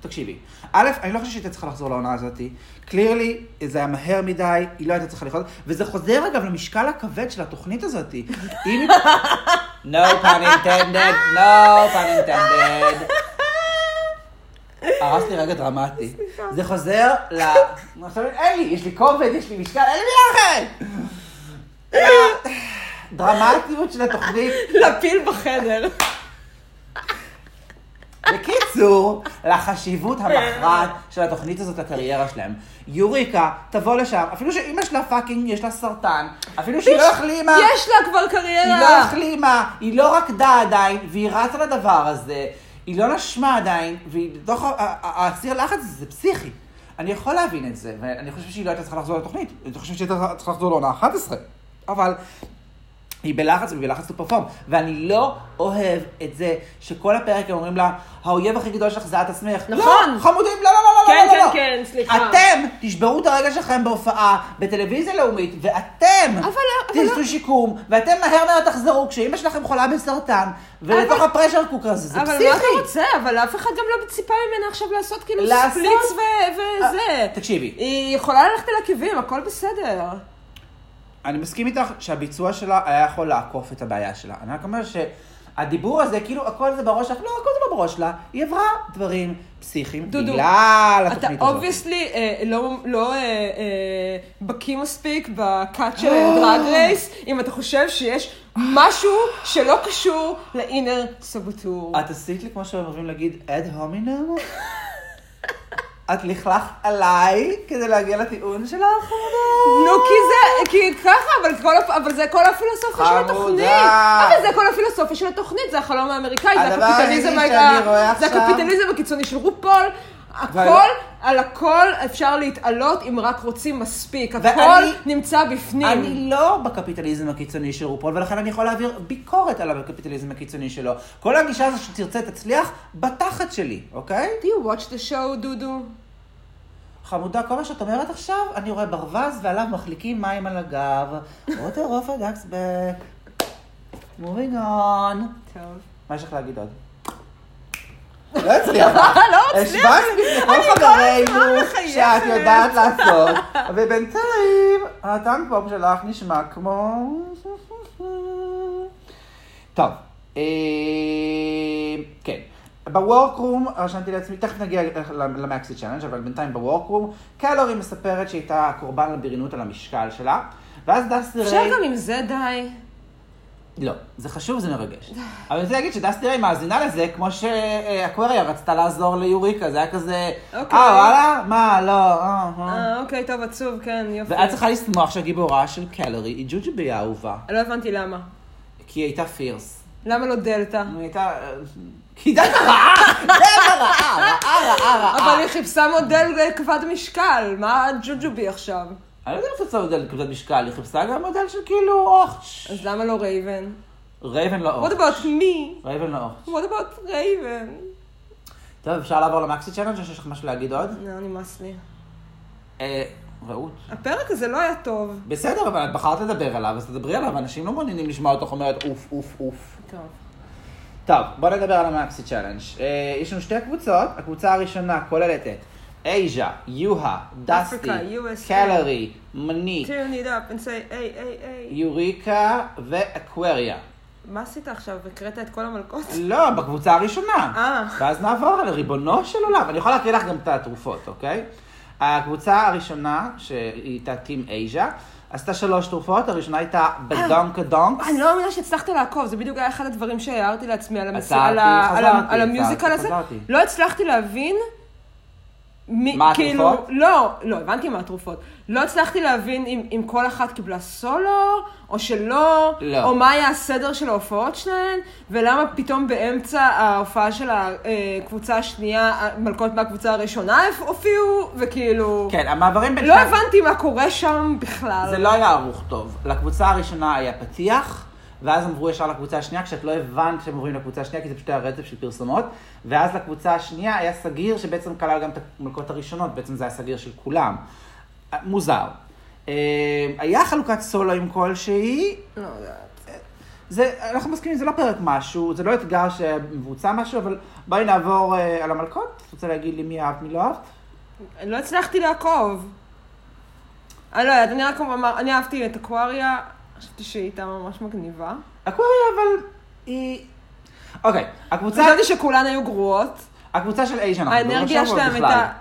Speaker 1: תקשיבי. א', אני לא חושבת שהיא הייתה צריכה לחזור לעונה הזאתי. קלירלי, זה היה מהר מדי, היא לא הייתה צריכה לחזור, וזה חוזר אגב למשקל הכבד של התוכנית הזאתי. אם היא... No pun intended, no pun intended. הרס לי רגע דרמטי. זה חוזר ל... עכשיו, אין לי, יש לי כובד, יש לי משקל, אין לי מילה אחרת! דרמטיות של התוכנית
Speaker 2: לפיל בחדר.
Speaker 1: בקיצור, לחשיבות המכרעת של התוכנית הזאת לקריירה שלהם. יוריקה, תבוא לשם, אפילו שאימא שלה פאקינג יש לה סרטן, אפילו שהיא לא החלימה,
Speaker 2: יש לה כבר
Speaker 1: היא לא
Speaker 2: קריירה.
Speaker 1: החלימה, היא לא רקדה עדיין, והיא רצה לדבר הזה, היא לא נשמה עדיין, והיא בתוך ה- ה- ה- הסיר לחץ הזה, זה פסיכי. אני יכול להבין את זה, ואני חושב שהיא לא הייתה צריכה לחזור לתוכנית, אני חושב שהיא הייתה צריכה לחזור לעונה 11, אבל היא בלחץ והיא בלחץ לפרפורם, ואני לא אוהב את זה שכל הפרק הם אומרים לה, האויב הכי גדול שלך זה את עצמך.
Speaker 2: נכון.
Speaker 1: לא, חמודים, לא, לא, לא, לא,
Speaker 2: כן,
Speaker 1: לא, לא,
Speaker 2: כן,
Speaker 1: לא.
Speaker 2: כן, סליחה.
Speaker 1: אתם תשברו את הרגע שלכם בהופעה, בטלוויזיה לאומית, ואתם
Speaker 2: אבל- אבל- לא,
Speaker 1: תעשו שיקום, ואתם מהר מאוד תחזרו כשאמא שלכם חולה בסרטן, ולתוך הפרשר קוקר הזה, זה
Speaker 2: אבל מה אתה
Speaker 1: פסיכי.
Speaker 2: רוצה? אבל אף אחד גם לא ציפה ממנה עכשיו לעשות כאילו
Speaker 1: לעשות-
Speaker 2: ספליץ ו- וזה.
Speaker 1: אה, תקשיבי,
Speaker 2: היא יכולה ללכת אל עקבים, הכל בסדר.
Speaker 1: אני מסכים איתך שהביצוע שלה היה יכול לעקוף את הבעיה שלה. אני רק אומר שהדיבור הזה, כאילו הכל זה בראש שלך, לא, הכל זה לא בראש שלה, היא עברה דברים פסיכיים,
Speaker 2: דודו,
Speaker 1: בגלל
Speaker 2: אתה
Speaker 1: התוכנית הזאת.
Speaker 2: אובייסלי לא אה, אה, בקיא מספיק בקאט של דרג
Speaker 1: אה.
Speaker 2: רייס, אם אתה חושב שיש משהו שלא קשור לאינר סבוטור.
Speaker 1: את עשית לי, כמו שאומרים להגיד, אד הומינם? את לכלכת עליי כדי להגיע לטיעון שלך, חמודה?
Speaker 2: נו, כי זה, כי ככה, אבל, כל, הפ- אבל זה כל הפילוסופיה של
Speaker 1: חמודה.
Speaker 2: התוכנית. אבל זה כל הפילוסופיה של התוכנית, זה החלום האמריקאי, זה
Speaker 1: הדבר
Speaker 2: הקפיטליזם,
Speaker 1: היחידי
Speaker 2: ה-
Speaker 1: שאני רואה
Speaker 2: זה
Speaker 1: עכשיו-
Speaker 2: הקפיטליזם הקיצוני של רופול.
Speaker 1: ואני-
Speaker 2: הכל, על הכל אפשר להתעלות אם רק רוצים מספיק. הכל
Speaker 1: ואני-
Speaker 2: נמצא בפנים.
Speaker 1: אני לא בקפיטליזם הקיצוני של רופול, ולכן אני יכול להעביר ביקורת עליו בקפיטליזם הקיצוני שלו. כל הגישה הזו שתרצה תצליח, בתחת שלי, אוקיי?
Speaker 2: Do you watch the show, דודו?
Speaker 1: חמודה, כל מה שאת אומרת עכשיו, אני רואה ברווז ועליו מחליקים מים על הגב. רוטר אוף הדקסבק. מובינג און.
Speaker 2: טוב.
Speaker 1: מה יש לך להגיד עוד? לא הצליח.
Speaker 2: לא
Speaker 1: הצליח. השוואת בפני כל חברינו
Speaker 2: מחייכת.
Speaker 1: שאת יודעת לעשות, ובינתיים הטנק בום שלך נשמע כמו... טוב, אה, כן. בוורקרום, רשמתי לעצמי, תכף נגיע למקסי צ'אלנג', אבל בינתיים בוורקרום, קלורי מספרת שהיא הייתה קורבן לבריונות על המשקל שלה, ואז דסי ריי...
Speaker 2: אפשר גם עם זה די.
Speaker 1: לא, זה חשוב, זה מרגש. אבל אני רוצה להגיד שדסטי ריי מאזינה לזה, כמו שאקווריה רצתה לעזור ליוריקה, זה היה כזה, אה,
Speaker 2: אוקיי.
Speaker 1: וואלה? מה, לא, אה, אה.
Speaker 2: אה, אוקיי, טוב, עצוב, כן, יופי.
Speaker 1: ואת צריכה לשמוח שהגיבורה של קלרי היא ג'וג'בי האהובה,
Speaker 2: לא הבנתי למה.
Speaker 1: כי היא הייתה פירס.
Speaker 2: למה לא דלתא?
Speaker 1: היא הייתה... אה, כי היא דעת רעה, דעת רעה, רעה, רעה, רעה.
Speaker 2: אה, אבל היא חיפשה מודל כבד משקל, מה הג'וג'ובי עכשיו?
Speaker 1: אני לא יודעת אם פצצה מודל כבדת משקל, היא חיפשה גם מודל של כאילו אוח.
Speaker 2: אז למה לא רייבן?
Speaker 1: רייבן לא אוח.
Speaker 2: What about me?
Speaker 1: רייבן לא אוח.
Speaker 2: What about רייבן?
Speaker 1: טוב, אפשר לעבור למקסי צ'אלנג' או שיש לך משהו להגיד עוד?
Speaker 2: לא, נמאס לי.
Speaker 1: אה, רעות.
Speaker 2: הפרק הזה לא היה טוב.
Speaker 1: בסדר, אבל את בחרת לדבר עליו, אז תדברי עליו, אנשים לא מעוניינים לשמוע אותך אומרת אוף, אוף, אוף.
Speaker 2: טוב.
Speaker 1: טוב, בוא נדבר על המקסי צ'אלנג'. אה, יש לנו שתי קבוצות, הקבוצה הראשונה כוללת את אייז'ה, יוהה, דסטי,
Speaker 2: USA,
Speaker 1: קלרי, מניק,
Speaker 2: turn it up and say, היי, היי, היי.
Speaker 1: יוריקה ואקווריה.
Speaker 2: מה עשית עכשיו? הקראת את כל המלכות?
Speaker 1: לא, בקבוצה הראשונה.
Speaker 2: אה.
Speaker 1: ואז נעבור על ריבונו של עולם. אני יכול להקריא לך גם את התרופות, אוקיי? הקבוצה הראשונה, שהייתה טים אייז'ה, עשתה שלוש תרופות, הראשונה הייתה בדונקה דונקס.
Speaker 2: אני אה. לא מאמינה שהצלחת לעקוב, זה בדיוק היה אחד הדברים שהערתי לעצמי על המס-
Speaker 1: עצרתי,
Speaker 2: על ה- על ה-
Speaker 1: חזרתי,
Speaker 2: על המיוזיקל
Speaker 1: עצרתי,
Speaker 2: הזה.
Speaker 1: חזרתי.
Speaker 2: לא הצלחתי להבין. מי-
Speaker 1: מה
Speaker 2: כאילו-
Speaker 1: התרופות?
Speaker 2: לא, לא, הבנתי מה התרופות. לא הצלחתי להבין אם, אם כל אחת קיבלה סולו, או שלא,
Speaker 1: לא.
Speaker 2: או מה היה הסדר של ההופעות שלהן, ולמה פתאום באמצע ההופעה של הקבוצה השנייה, המלכות מהקבוצה הראשונה הופיעו, וכאילו...
Speaker 1: כן, המעברים בין...
Speaker 2: לא
Speaker 1: שני-
Speaker 2: הבנתי מה קורה שם בכלל.
Speaker 1: זה לא היה ערוך טוב. לקבוצה הראשונה היה פתיח, ואז הם עברו ישר לקבוצה השנייה, כשאת לא הבנת שהם עוברים לקבוצה השנייה, כי זה פשוט היה רצף של פרסומות. ואז לקבוצה השנייה היה סגיר, שבעצם כלל גם את המלכות הראשונות, בעצם זה היה סגיר של כולם. אה, מוזר. אה, היה חלוקת סולואים כלשהי,
Speaker 2: לא יודעת.
Speaker 1: זה, אנחנו מסכימים, זה לא פרק משהו, זה לא אתגר שמבוצע משהו, אבל בואי נעבור אה, על המלכות. את רוצה להגיד לי מי אהבת, מי לא אהבת?
Speaker 2: לא הצלחתי לעקוב. אני לא יודעת, אני רק אומר, אני אהבתי את אקווריה, חשבתי שהיא הייתה ממש מגניבה.
Speaker 1: אקווריה, אבל היא... אה, אוקיי, הקבוצה...
Speaker 2: חשבתי שכולן היו גרועות.
Speaker 1: הקבוצה של אייז'ה, אנחנו מדברים
Speaker 2: האנרגיה
Speaker 1: עכשיו או
Speaker 2: שלהם
Speaker 1: לא בכלל?
Speaker 2: הייתה...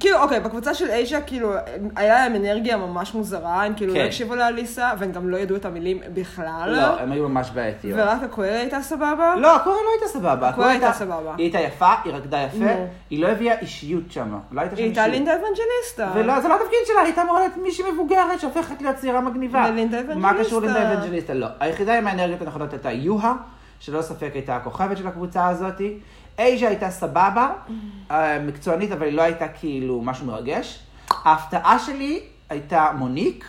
Speaker 2: כאילו, אוקיי, בקבוצה של אייז'ה, כאילו, היה להם אנרגיה ממש מוזרה, הם כאילו לא
Speaker 1: כן.
Speaker 2: הקשיבו לאליסה, והם גם לא ידעו את המילים בכלל.
Speaker 1: לא, הם היו ממש בעייתיות.
Speaker 2: ורק אקווריה הייתה סבבה.
Speaker 1: לא, הקוריה לא הייתה סבבה. הקוריה
Speaker 2: הייתה סבבה.
Speaker 1: היא הייתה יפה, היא רקדה יפה,
Speaker 2: נו.
Speaker 1: היא לא הביאה אישיות שם. לא הייתה שם
Speaker 2: היא
Speaker 1: אישיות.
Speaker 2: הייתה לינדה אבנג'ליסטה.
Speaker 1: ולא, זה לא התפקיד שלה, היא הייתה אמורה להיות מישהי מבוגרת שהופכת להיות צעירה מגניבה.
Speaker 2: ולינדה
Speaker 1: מה קשור
Speaker 2: אבנג'ליסטה?
Speaker 1: לינדה אבנג'ליסטה? לא. היחידה עם האנרגיות הנכונות הייתה יוהה, שלא ספק הייתה הכוכבת של הקבוצה הזאת. אייז'ה הייתה סבבה,
Speaker 2: Mm.
Speaker 1: אה, מקצוענית, אבל היא לא הייתה כאילו משהו מרגש. ההפתעה שלי הייתה מוניק,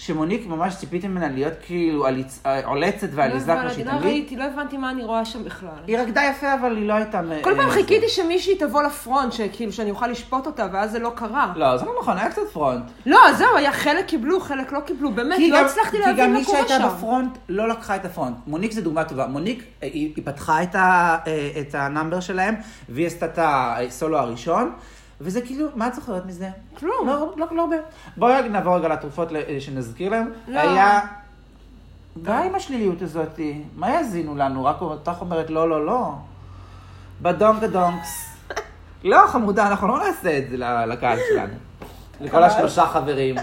Speaker 1: שמוניק ממש ציפיתי ממנה להיות כאילו עליצ- אה, עולצת ועליזה כמו שהיא תמיד.
Speaker 2: לא הבנתי מה אני רואה שם בכלל.
Speaker 1: היא רקדה יפה, אבל היא לא הייתה... מ-
Speaker 2: כל פעם
Speaker 1: אה,
Speaker 2: חיכיתי שמישהי תבוא לפרונט, שכאילו, שאני אוכל לשפוט אותה, ואז זה לא קרה.
Speaker 1: לא, זה לא נכון, היה קצת פרונט.
Speaker 2: לא, אז זהו, היה חלק קיבלו, חלק לא קיבלו, באמת,
Speaker 1: כי
Speaker 2: לא
Speaker 1: גם-
Speaker 2: הצלחתי להבין מה
Speaker 1: כי גם
Speaker 2: קורה
Speaker 1: מי שהייתה
Speaker 2: שם.
Speaker 1: בפרונט לא לקחה את הפרונט. מוניק זו דוגמה טובה. מוניק, אה, היא היא פתחה את ה- אה, את הנאמבר שלהם, והיא עשתה את הסולו הראשון. וזה כאילו, מה את זוכרת מזה?
Speaker 2: כלום.
Speaker 1: לא, לא, לא הרבה. בואי נעבור רגע לתרופות ל- אה, שנזכיר להם.
Speaker 2: לא.
Speaker 1: היה... די עם השליליות הזאת. מה יאזינו לנו? רק אותך אומרת לא, לא, לא. בדונקה דונקס. לא, חמודה, אנחנו לא נעשה את זה ל- לקהל שלנו. לכל השלושה חברים.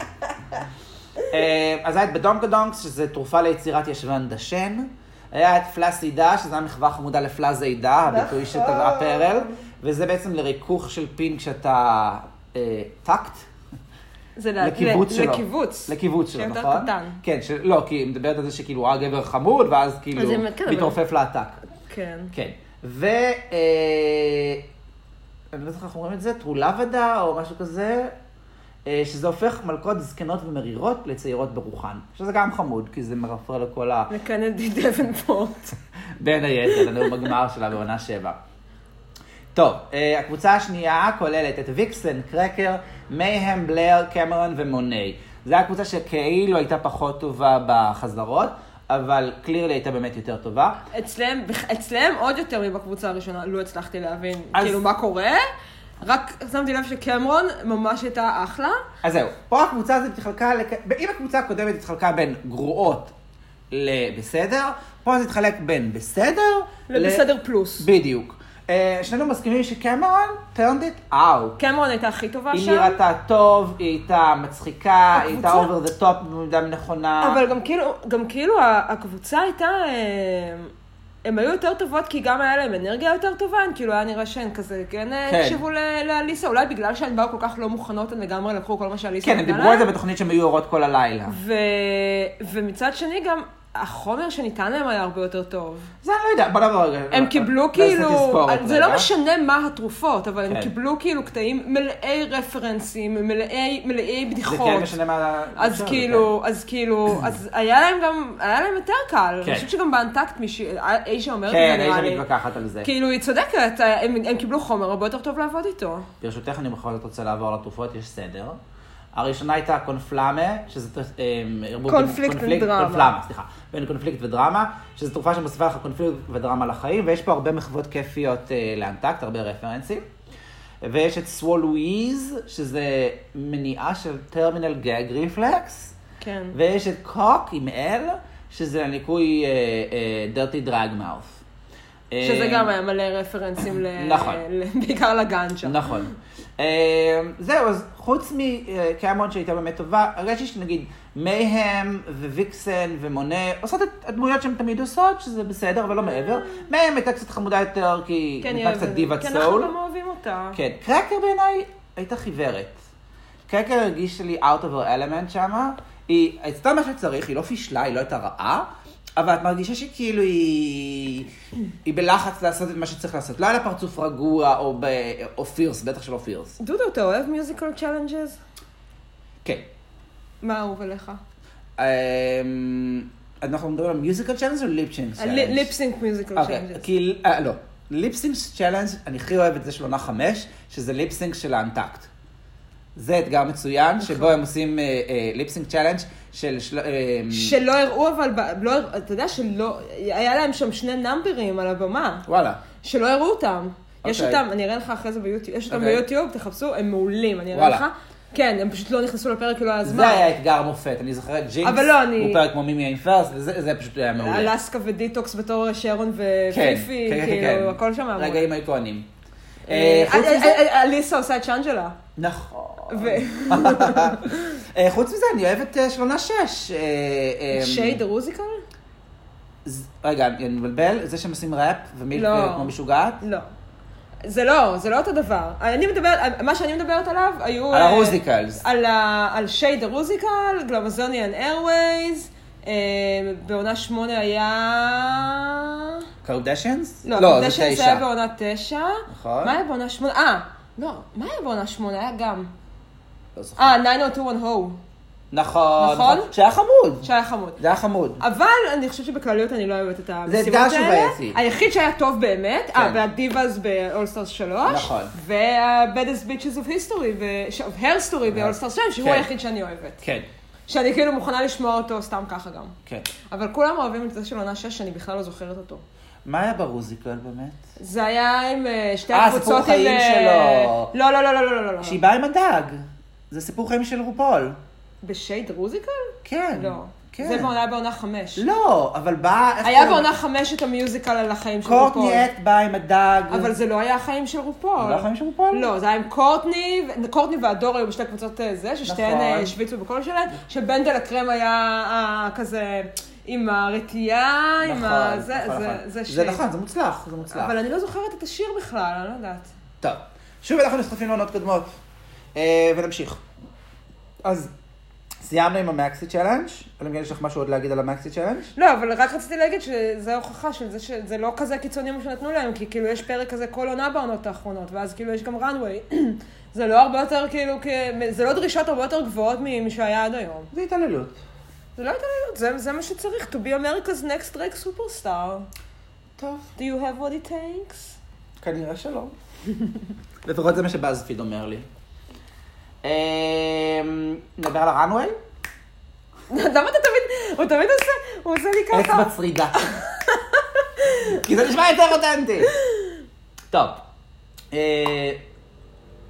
Speaker 1: אה, אז היה את בדונקדונקס, שזה תרופה ליצירת ישבן דשן. היה את פלאסידה, שזה היה מחווה חמודה לפלאזידה,
Speaker 2: נכון.
Speaker 1: הביטוי שטבעה פרל. וזה בעצם לריכוך של פין כשאתה אה, טקט.
Speaker 2: זה ל-
Speaker 1: לקיבוץ
Speaker 2: ל-
Speaker 1: שלו.
Speaker 2: לקיבוץ.
Speaker 1: לקיבוץ שלו,
Speaker 2: שיותר
Speaker 1: נכון?
Speaker 2: קטן.
Speaker 1: כן, של- לא, כי היא מדברת על זה שכאילו הוא היה גבר חמוד, ואז כאילו
Speaker 2: אז היא אומרת, כן, אבל-
Speaker 1: מתרופף להטק.
Speaker 2: כן.
Speaker 1: כן. ו... אה, אני לא זוכר איך אומרים את זה, טרולבדה או משהו כזה, אה, שזה הופך מלכות זקנות ומרירות לצעירות ברוחן. שזה גם חמוד, כי זה מרפרר לכל ה...
Speaker 2: לקנדי דבנפורט.
Speaker 1: בין היתר, לנאום הגמר שלה בעונה שבע. טוב, אה, הקבוצה השנייה כוללת את ויקסן, קרקר, מייהם, בלר, קמרון ומוני. זו הקבוצה שכאילו הייתה פחות טובה בחזרות, אבל קלירלי הייתה באמת יותר טובה.
Speaker 2: אצלם, בכ- אצלם עוד יותר מבקבוצה הראשונה, לא הצלחתי להבין
Speaker 1: אז-
Speaker 2: כאילו מה קורה. רק שמתי לב שקמרון ממש הייתה אחלה.
Speaker 1: אז זהו, פה הקבוצה הזאת התחלקה, לק- אם הקבוצה הקודמת התחלקה בין גרועות לבסדר, פה זה התחלק בין בסדר
Speaker 2: לבסדר פלוס.
Speaker 1: בדיוק. אה, שנינו מסכימים שקמרון turned it out.
Speaker 2: קמרון הייתה הכי טובה
Speaker 1: היא
Speaker 2: שם.
Speaker 1: נראתה טוב, היא הייתה מצחיקה, היא הייתה
Speaker 2: הקבוצה-
Speaker 1: over the top במידה נכונה.
Speaker 2: אבל גם כאילו, גם כאילו ה- הקבוצה הייתה, אה, הם היו יותר טובות כי גם היה להם אנרגיה יותר טובה, הם כאילו היה נראה שהן כזה, כן, אה,
Speaker 1: כן.
Speaker 2: הקשיבו ל- לאליסה, אולי בגלל שהן באו כל כך לא מוכנות, הן לגמרי לקחו כל מה שאליסה
Speaker 1: כן, הם
Speaker 2: נתנה
Speaker 1: דיברו על
Speaker 2: להן.
Speaker 1: זה בתוכנית שהם היו עורות כל הלילה.
Speaker 2: ו... ומצד שני גם, החומר שניתן להם היה הרבה יותר טוב.
Speaker 1: זה אני לא יודע, בוא נעבור רגע.
Speaker 2: הם קיבלו
Speaker 1: נעשה
Speaker 2: כאילו,
Speaker 1: תזכורת
Speaker 2: זה לא
Speaker 1: רגע.
Speaker 2: משנה מה התרופות, אבל
Speaker 1: כן.
Speaker 2: הם קיבלו כאילו קטעים מלאי רפרנסים, מלאי מלאי
Speaker 1: זה
Speaker 2: בדיחות.
Speaker 1: כן משנה מה...
Speaker 2: אז
Speaker 1: בסדר,
Speaker 2: כאילו, אז כאילו, אז היה להם גם, היה להם יותר קל.
Speaker 1: כן.
Speaker 2: אני חושבת שגם באנטקט מישהי, איישה
Speaker 1: כן,
Speaker 2: אומרת את
Speaker 1: כן,
Speaker 2: זה נראה
Speaker 1: הייתי
Speaker 2: לי.
Speaker 1: מתווכחת על זה.
Speaker 2: כאילו, היא צודקת, הם הם קיבלו חומר הרבה יותר טוב לעבוד איתו.
Speaker 1: ברשותך, אני בכל זאת רוצה לעבור לתרופות, יש סדר. הראשונה הייתה קונפלמה, שזה אמ, ערבוב בין-
Speaker 2: קונפליקט ודרמה.
Speaker 1: קונפלמה, סליחה. בין קונפליקט ודרמה, שזו תרופה שמוסיפה לך קונפליקט ודרמה לחיים, ויש פה הרבה מחוות כיפיות אה, לאנטקט, הרבה רפרנסים. ויש את סוולוויז, שזה מניעה של טרמינל גג ריפלקס.
Speaker 2: כן.
Speaker 1: ויש את קוק עם אל, שזה אה, הניקוי דרטי דרג מאוף. אה,
Speaker 2: שזה גם היה מלא רפרנסים, ל-
Speaker 1: נכון.
Speaker 2: ל- בעיקר לגנג'ה.
Speaker 1: נכון. אמ, זהו, אז חוץ מקאמון שהייתה באמת טובה, הרגשתי שנגיד מייהם וויקסן ומונה עושות את הדמויות שהן תמיד עושות, שזה בסדר, אבל לא מעבר. מייהם הייתה קצת חמודה יותר, כי
Speaker 2: כן,
Speaker 1: הייתה קצת
Speaker 2: יואב,
Speaker 1: דיבת
Speaker 2: כן, אנחנו
Speaker 1: סול.
Speaker 2: גם אוהבים אותה.
Speaker 1: כן, קרקר בעיניי הייתה חיוורת. קרקר הרגיש לי out of her element שמה. היא עשתה מה שצריך, היא לא פישלה, היא לא הייתה רעה, אבל את מרגישה שכאילו היא... היא בלחץ לעשות את מה שצריך לעשות. לא היה לה פרצוף רגוע או, ב... או פירס, בטח שלא פירס.
Speaker 2: דודו, אתה אוהב מיוזיקל צ'אלנג'ז?
Speaker 1: כן.
Speaker 2: מה אהוב עליך?
Speaker 1: אמ, אנחנו מדברים על מיוזיקל צ'אלנס או ליפצ'ינג
Speaker 2: אה,
Speaker 1: צ'אלנס?
Speaker 2: ליפסינק מיוזיקל
Speaker 1: אוקיי,
Speaker 2: צ'אלנג'ז.
Speaker 1: כי... אה, לא. ליפסינג צ'אלנג', אני הכי אוהב את זה של עונה חמש, שזה ליפסינג של האנטקט. זה אתגר מצוין,
Speaker 2: נכון.
Speaker 1: שבו הם עושים אה, ליפסינג צ'אלנג' של... של... אה,
Speaker 2: שלא הראו אבל, ב- לא הראו- אתה יודע שלא, היה להם שם שני נאמברים על הבמה,
Speaker 1: וואלה.
Speaker 2: שלא הראו אותם. יש
Speaker 1: אוקיי.
Speaker 2: אותם, אני אראה לך אחרי זה ביוטיוב, יש אותם
Speaker 1: אוקיי.
Speaker 2: ביוטיוב, תחפשו, הם מעולים, אני אראה
Speaker 1: וואלה.
Speaker 2: לך. כן, הם פשוט לא נכנסו לפרק, כי לא היה זמן.
Speaker 1: זה היה אתגר מופת, אני זוכר את ג'ינקס,
Speaker 2: אבל לא, אני-
Speaker 1: הוא פרק כמו מימי עם פרס, וזה זה פשוט היה מעולה.
Speaker 2: אלסקה ודיטוקס בתור שרון
Speaker 1: כן,
Speaker 2: ופיפי,
Speaker 1: כן, כן,
Speaker 2: כאילו,
Speaker 1: כן.
Speaker 2: הכל שם אמור.
Speaker 1: רגעים איקונים. אה,
Speaker 2: אה,
Speaker 1: חוץ
Speaker 2: אה,
Speaker 1: מזה...
Speaker 2: אה, אליסה עושה את צ'אנג'לה.
Speaker 1: נכון.
Speaker 2: ו-
Speaker 1: אה, חוץ מזה, אני אוהבת אה, של עונה שש. אה, אה,
Speaker 2: שייד הרוזיקל?
Speaker 1: ז- רגע, אני מבלבל? זה שהם עושים ראפ ומילק
Speaker 2: לא.
Speaker 1: אה, כמו משוגעת?
Speaker 2: לא. זה לא, זה לא אותו דבר. אני מדברת, אה, מה שאני מדברת עליו היו...
Speaker 1: על
Speaker 2: אה,
Speaker 1: הרוזיקלס.
Speaker 2: על, ה, על שייד הרוזיקל, גלמזוניאן איירווייז, אה, בעונה שמונה היה...
Speaker 1: קרדשנס?
Speaker 2: לא,
Speaker 1: זה
Speaker 2: הקדשן זה
Speaker 1: תשע.
Speaker 2: היה בעונה תשע.
Speaker 1: נכון.
Speaker 2: מה היה בעונה שמונה? אה, לא, מה היה בעונה שמונה? היה גם.
Speaker 1: לא זוכר.
Speaker 2: אה, 9021 הו,
Speaker 1: נכון.
Speaker 2: נכון?
Speaker 1: שהיה חמוד.
Speaker 2: שהיה חמוד.
Speaker 1: זה היה חמוד.
Speaker 2: אבל אני חושבת שבכלליות אני לא אוהבת את המשימות האלה.
Speaker 1: אתגר שהוא בעייתי.
Speaker 2: היחיד שהיה טוב באמת, אה,
Speaker 1: כן.
Speaker 2: והדיבאז ב-All Stars 3.
Speaker 1: נכון.
Speaker 2: וה-Baddest Bitches of History, ו- ש- of Hair Story ב-All Stars 2, שהוא
Speaker 1: כן.
Speaker 2: היחיד שאני אוהבת.
Speaker 1: כן.
Speaker 2: שאני כאילו מוכנה לשמוע אותו סתם ככה גם.
Speaker 1: כן.
Speaker 2: אבל כולם אוהבים את זה של עונה 6, שאני בכלל לא זוכרת אותו.
Speaker 1: מה היה ברוזיקל באמת?
Speaker 2: זה היה עם אה, שתי
Speaker 1: אה,
Speaker 2: הקבוצות עם...
Speaker 1: סיפור חיים
Speaker 2: אה,
Speaker 1: שלו.
Speaker 2: לא, לא, לא, לא, לא, לא, לא.
Speaker 1: שהיא באה עם הדג. זה סיפור חיים של רופול.
Speaker 2: בשייד רוזיקל?
Speaker 1: כן.
Speaker 2: לא.
Speaker 1: כן.
Speaker 2: זה בעונה בעונה חמש.
Speaker 1: לא, אבל באה... איך
Speaker 2: היה
Speaker 1: קוראים?
Speaker 2: בעונה חמש את המיוזיקל על החיים של רופול.
Speaker 1: קורטניאט באה עם הדג.
Speaker 2: אבל זה לא היה החיים של רופול.
Speaker 1: זה לא החיים של רופול?
Speaker 2: לא, זה היה עם קורטני, ו- קורטני והדור היו בשתי קבוצות אה, זה, ששתיהן
Speaker 1: נכון.
Speaker 2: אה, השוויצו בקול שלהן, שבנדל הקרם היה אה, כזה עם הרתיעה, עם
Speaker 1: נכון,
Speaker 2: ה... זה,
Speaker 1: נכון,
Speaker 2: זה,
Speaker 1: נכון.
Speaker 2: זה
Speaker 1: זה
Speaker 2: שייד.
Speaker 1: נכון, זה מוצלח, זה מוצלח.
Speaker 2: אבל אני לא זוכרת את השיר בכלל, אני לא יודעת.
Speaker 1: טוב, שוב אנחנו נחשפים לעונות קודמות, אה, ונמשיך. אז סיימנו עם המקסי צ'אלנג', אלא אם כן יש לך משהו עוד להגיד על המקסי צ'אלנג'?
Speaker 2: לא, אבל רק רציתי להגיד שזה הוכחה של זה שזה לא כזה קיצוני מה שנתנו להם, כי כאילו יש פרק כזה כל עונה בעונות האחרונות, ואז כאילו יש גם runway. זה לא הרבה יותר כאילו, כ- זה לא דרישות הרבה יותר גבוהות ממה שהיה עד היום.
Speaker 1: זה התעללות.
Speaker 2: זה לא התעללות, זה, זה מה שצריך, to be America's next drag superstar.
Speaker 1: טוב,
Speaker 2: Do you have what it takes?
Speaker 1: כנראה שלא. לפחות זה מה שבאזפיד אומר לי. אה, נדבר על הראנוויי?
Speaker 2: למה אתה תמיד, הוא תמיד עושה, הוא עושה לי ככה.
Speaker 1: אצבע צרידה. כי זה נשמע יותר אותנטי. טוב, אה,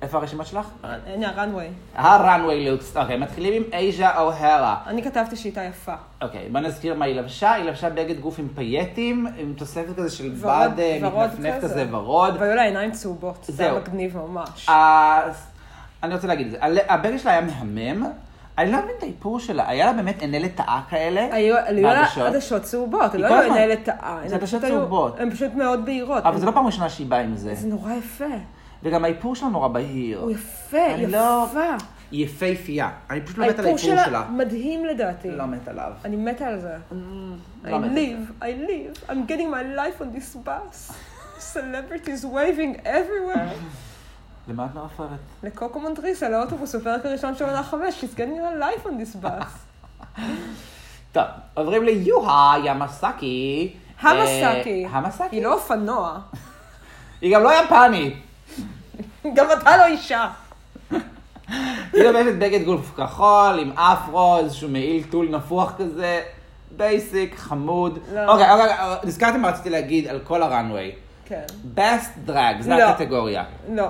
Speaker 1: איפה הרשימה שלך?
Speaker 2: אה, הנה, runway.
Speaker 1: הראנוויי לוקס. אוקיי, מתחילים עם אייז'ה אוהרה.
Speaker 2: אני כתבתי שהיא הייתה יפה.
Speaker 1: אוקיי, בוא נזכיר מה היא לבשה. היא לבשה בגד גוף עם פייטים, עם תוספת כזה של
Speaker 2: ורוד-
Speaker 1: בד אה,
Speaker 2: ורוד
Speaker 1: מתנפנף
Speaker 2: כזה.
Speaker 1: כזה ורוד.
Speaker 2: והיו לה עיניים צהובות, זה היה
Speaker 1: זהו.
Speaker 2: מגניב ממש.
Speaker 1: אז אני רוצה להגיד את זה. הל- הבגד שלה היה מהמם. אני לא מבין את האיפור שלה. היה לה באמת עיני לטאה כאלה.
Speaker 2: היו היו לה
Speaker 1: בעדשות.
Speaker 2: עדשות צהובות,
Speaker 1: היא
Speaker 2: לא
Speaker 1: כל
Speaker 2: היו
Speaker 1: הזמן-
Speaker 2: עיניים לטאה.
Speaker 1: זה עדשות צהובות.
Speaker 2: הן פשוט מאוד בהירות.
Speaker 1: אבל זה לא פעם ראשונה שהיא באה עם זה.
Speaker 2: זה נורא יפה.
Speaker 1: וגם האיפור שלה נורא בהיר.
Speaker 2: הוא יפה,
Speaker 1: אני לא-
Speaker 2: יפה.
Speaker 1: היא יפייפייה. אני פשוט לא מת על האיפור שלה.
Speaker 2: מדהים לדעתי.
Speaker 1: לא מת עליו.
Speaker 2: אני מתה על זה. I
Speaker 1: לא מתה.
Speaker 2: live, I live, I'm getting my life on this bus. Celebrities waving everywhere.
Speaker 1: למה את לא מרפרת?
Speaker 2: לקוקו מונטריסה, לאוטובוס, בפרק הראשון של עונה חמש, she's getting her life on this
Speaker 1: אה,
Speaker 2: bus.
Speaker 1: טוב, עוברים ליוהה ימאסקי.
Speaker 2: המסאקי.
Speaker 1: אה, המסאקי.
Speaker 2: היא לא אופנוע.
Speaker 1: היא גם לא יפנית.
Speaker 2: גם אתה לא אישה.
Speaker 1: היא לובשת בגד גולף כחול, עם אפרו, איזשהו מעיל טול נפוח כזה, בייסיק, חמוד.
Speaker 2: לא.
Speaker 1: אוקיי, אוקיי, אוקיי, נזכרתם מה רציתי להגיד על כל הראנוויי.
Speaker 2: כן.
Speaker 1: best drag, זו
Speaker 2: לא.
Speaker 1: הקטגוריה.
Speaker 2: לא.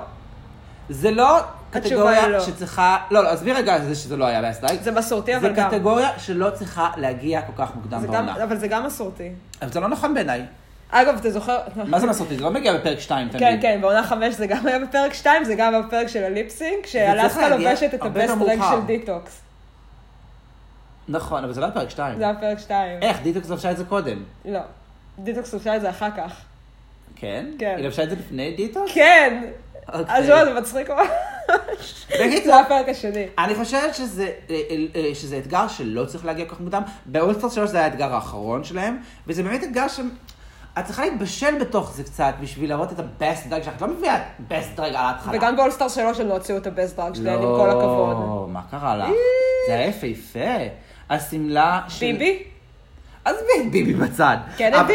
Speaker 1: זה לא
Speaker 2: התשובה
Speaker 1: קטגוריה
Speaker 2: היא לא.
Speaker 1: שצריכה... לא, לא, עזבי רגע זה שזה לא היה best drag.
Speaker 2: זה מסורתי,
Speaker 1: זה
Speaker 2: אבל גם.
Speaker 1: קטגוריה שלא צריכה להגיע כל כך מוקדם
Speaker 2: זה גם-
Speaker 1: בעונה.
Speaker 2: אבל זה גם מסורתי.
Speaker 1: אבל זה לא נכון בעיניי.
Speaker 2: אגב, אתה זוכר... נכון.
Speaker 1: מה זה מסורתי? זה לא מגיע בפרק 2 תמיד.
Speaker 2: כן, כן, בעונה חמש זה גם היה בפרק שתיים, זה גם היה בפרק של הליפסינק, שאלסקה
Speaker 1: להגיע
Speaker 2: לובשת את
Speaker 1: הרבה
Speaker 2: הבסט
Speaker 1: יותר
Speaker 2: רג
Speaker 1: מאוחר.
Speaker 2: של דיטוקס.
Speaker 1: נכון, אבל זה לא היה פרק 2.
Speaker 2: זה היה בפרק שתיים.
Speaker 1: איך, דיטוקס לבשה את זה קודם.
Speaker 2: לא. דיטוקס עושה את זה אחר כך.
Speaker 1: כן?
Speaker 2: כן.
Speaker 1: היא לבשה את זה לפני דיטוקס?
Speaker 2: כן!
Speaker 1: אוקיי.
Speaker 2: אז לא, זה מצחיק ממש.
Speaker 1: בקיצור,
Speaker 2: זה הפרק השני.
Speaker 1: אני חושבת שזה, אה, אה, שזה אתגר שלא צריך להגיע כל כך מוקדם. באולסטר 3 זה היה האתגר האחרון שלהם, וזה באמת אתגר ש... את צריכה להתבשל בתוך זה קצת בשביל להראות את הבסט דרג שלך. את לא מביאה best drag על ההתחלה.
Speaker 2: וגם באולסטאר שלוש הם לא הוציאו את הבסט דרג שלהם, עם
Speaker 1: לא,
Speaker 2: כל הכבוד.
Speaker 1: מה קרה לך? זה היה יפהפה. השמלה של...
Speaker 2: ביבי?
Speaker 1: עזבי את ביבי בצד.
Speaker 2: קנדי?
Speaker 1: אבל-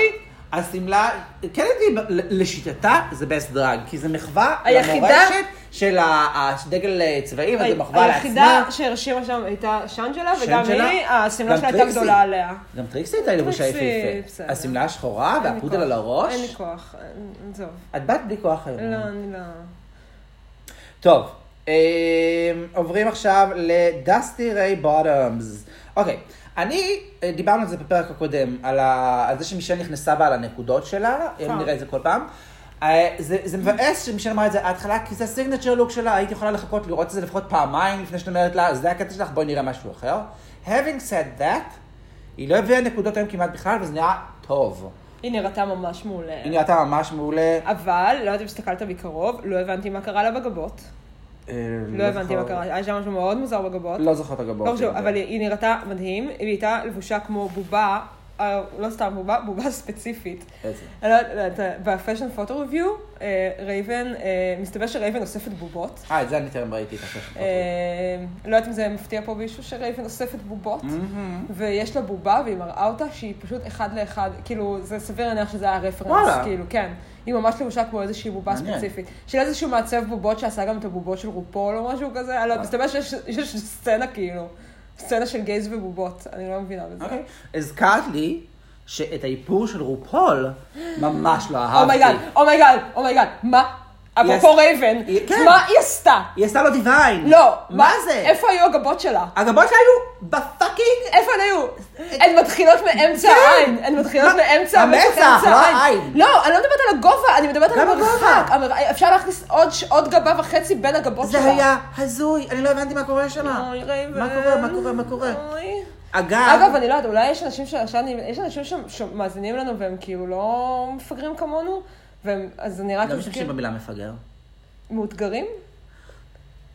Speaker 1: השמלה, קנדי לשיטתה זה best drag, כי זה מחווה
Speaker 2: היחידה-
Speaker 1: למורשת של ה- הדגל צבעים, אז זה מחווה לעצמה.
Speaker 2: היחידה שהרשימה שם הייתה שאנג'לה,
Speaker 1: שאנג'לה?
Speaker 2: וגם היא, השמלה
Speaker 1: גם
Speaker 2: שלה הייתה
Speaker 1: טריקסי.
Speaker 2: גדולה עליה.
Speaker 1: גם טריקסי הייתה לבושה
Speaker 2: טריקסי,
Speaker 1: יפהפה.
Speaker 2: בסדר.
Speaker 1: השמלה השחורה
Speaker 2: אין לי
Speaker 1: והפודל
Speaker 2: כוח.
Speaker 1: על
Speaker 2: אין לי
Speaker 1: הראש.
Speaker 2: כוח, אין- עזוב.
Speaker 1: את באת בלי כוח היום.
Speaker 2: לא, אני לא...
Speaker 1: טוב, אה, עוברים עכשיו לדסטי ריי בוטומס. אוקיי, אני, אה, דיברנו על זה בפרק הקודם, על, ה, על זה שמישל נכנסה בה על הנקודות שלה, אם
Speaker 2: פעם.
Speaker 1: נראה את זה כל פעם. אה, זה, זה מבאס שמישל אמרה את זה מההתחלה, כי זה הסיגנצ'ר לוק שלה, הייתי יכולה לחכות לראות את זה לפחות פעמיים לפני שאת אומרת לה, זה הקטע שלך, בואי נראה משהו אחר. Having said that, היא לא הביאה נקודות היום כמעט בכלל, וזה נראה טוב.
Speaker 2: היא נראתה ממש מעולה.
Speaker 1: היא נראתה ממש מעולה.
Speaker 2: אבל, לא יודעת אם הסתכלת מקרוב, לא הבנתי מה קרה לה בגבות.
Speaker 1: אה,
Speaker 2: לא הבנתי
Speaker 1: זוכר-
Speaker 2: מה קרה, היה שם משהו מאוד מוזר בגבות.
Speaker 1: לא זוכר את הגבות.
Speaker 2: לא חשוב, אבל היא- היא נראתה מדהים, היא הייתה לבושה כמו בובה, אה, לא סתם בובה, בובה ספציפית.
Speaker 1: איזה?
Speaker 2: אני לא יודעת, בפאשן פוטו ריוויו, רייבן, אה, מסתבר שרייבן אוספת בובות.
Speaker 1: אה, את זה אני טרם ראיתי את הספר.
Speaker 2: אה, לא יודעת אם זה מפתיע פה מישהו שרייבן אוספת בובות, ויש לה בובה והיא מראה אותה שהיא פשוט אחד לאחד, כאילו, זה סביר להניח שזה היה רפרנס,
Speaker 1: וואלה.
Speaker 2: כאילו, כן. היא ממש לבושה כמו איזושהי בובה
Speaker 1: מעניין.
Speaker 2: ספציפית. של איזשהו מעצב בובות שעשה גם את הבובות של רופול או משהו כזה, אני לא
Speaker 1: אה.
Speaker 2: יודעת, מסתבר שיש יש סצנה כאילו, סצנה של גייז ובובות, אני לא מבינה בזה.
Speaker 1: אוקיי. הזכרת לי שאת האיפור של רופול ממש לא
Speaker 2: אומייגאד,
Speaker 1: אהבתי.
Speaker 2: אומייגאד, אומייגאד, oh מה?
Speaker 1: היא
Speaker 2: אפרופו
Speaker 1: עשתה-
Speaker 2: רייבן,
Speaker 1: היא- כן.
Speaker 2: מה היא עשתה?
Speaker 1: היא עשתה לו דיוויין.
Speaker 2: לא,
Speaker 1: מה זה?
Speaker 2: איפה היו הגבות שלה?
Speaker 1: הגבות שלה היו בפאקינג...
Speaker 2: איפה הן היו? הן מתחילות מאמצע העין. הן מתחילות
Speaker 1: כן. מה?
Speaker 2: מאמצע
Speaker 1: המצח,
Speaker 2: משך
Speaker 1: לא
Speaker 2: העין.
Speaker 1: העין.
Speaker 2: לא, אני לא מדברת על הגובה, אני מדברת על
Speaker 1: גם
Speaker 2: המרחק. המר- אפשר להכניס עוד ש- עוד גבה וחצי בין הגבות שלה.
Speaker 1: זה היה הזוי, אני לא הבנתי מה קורה שם.
Speaker 2: אוי, רייבן.
Speaker 1: מה קורה, מה קורה, מה קורה?
Speaker 2: אוי.
Speaker 1: אגב...
Speaker 2: לא, אגב, אני לא יודעת, אולי יש אנשים שעכשיו, יש אנשים שמאזינים לנו והם כאילו לא מפגרים כמונו, והם, אז זה נראה
Speaker 1: לא
Speaker 2: כאילו
Speaker 1: משתמשים
Speaker 2: שכאילו
Speaker 1: במילה מפגר.
Speaker 2: מאותגרים.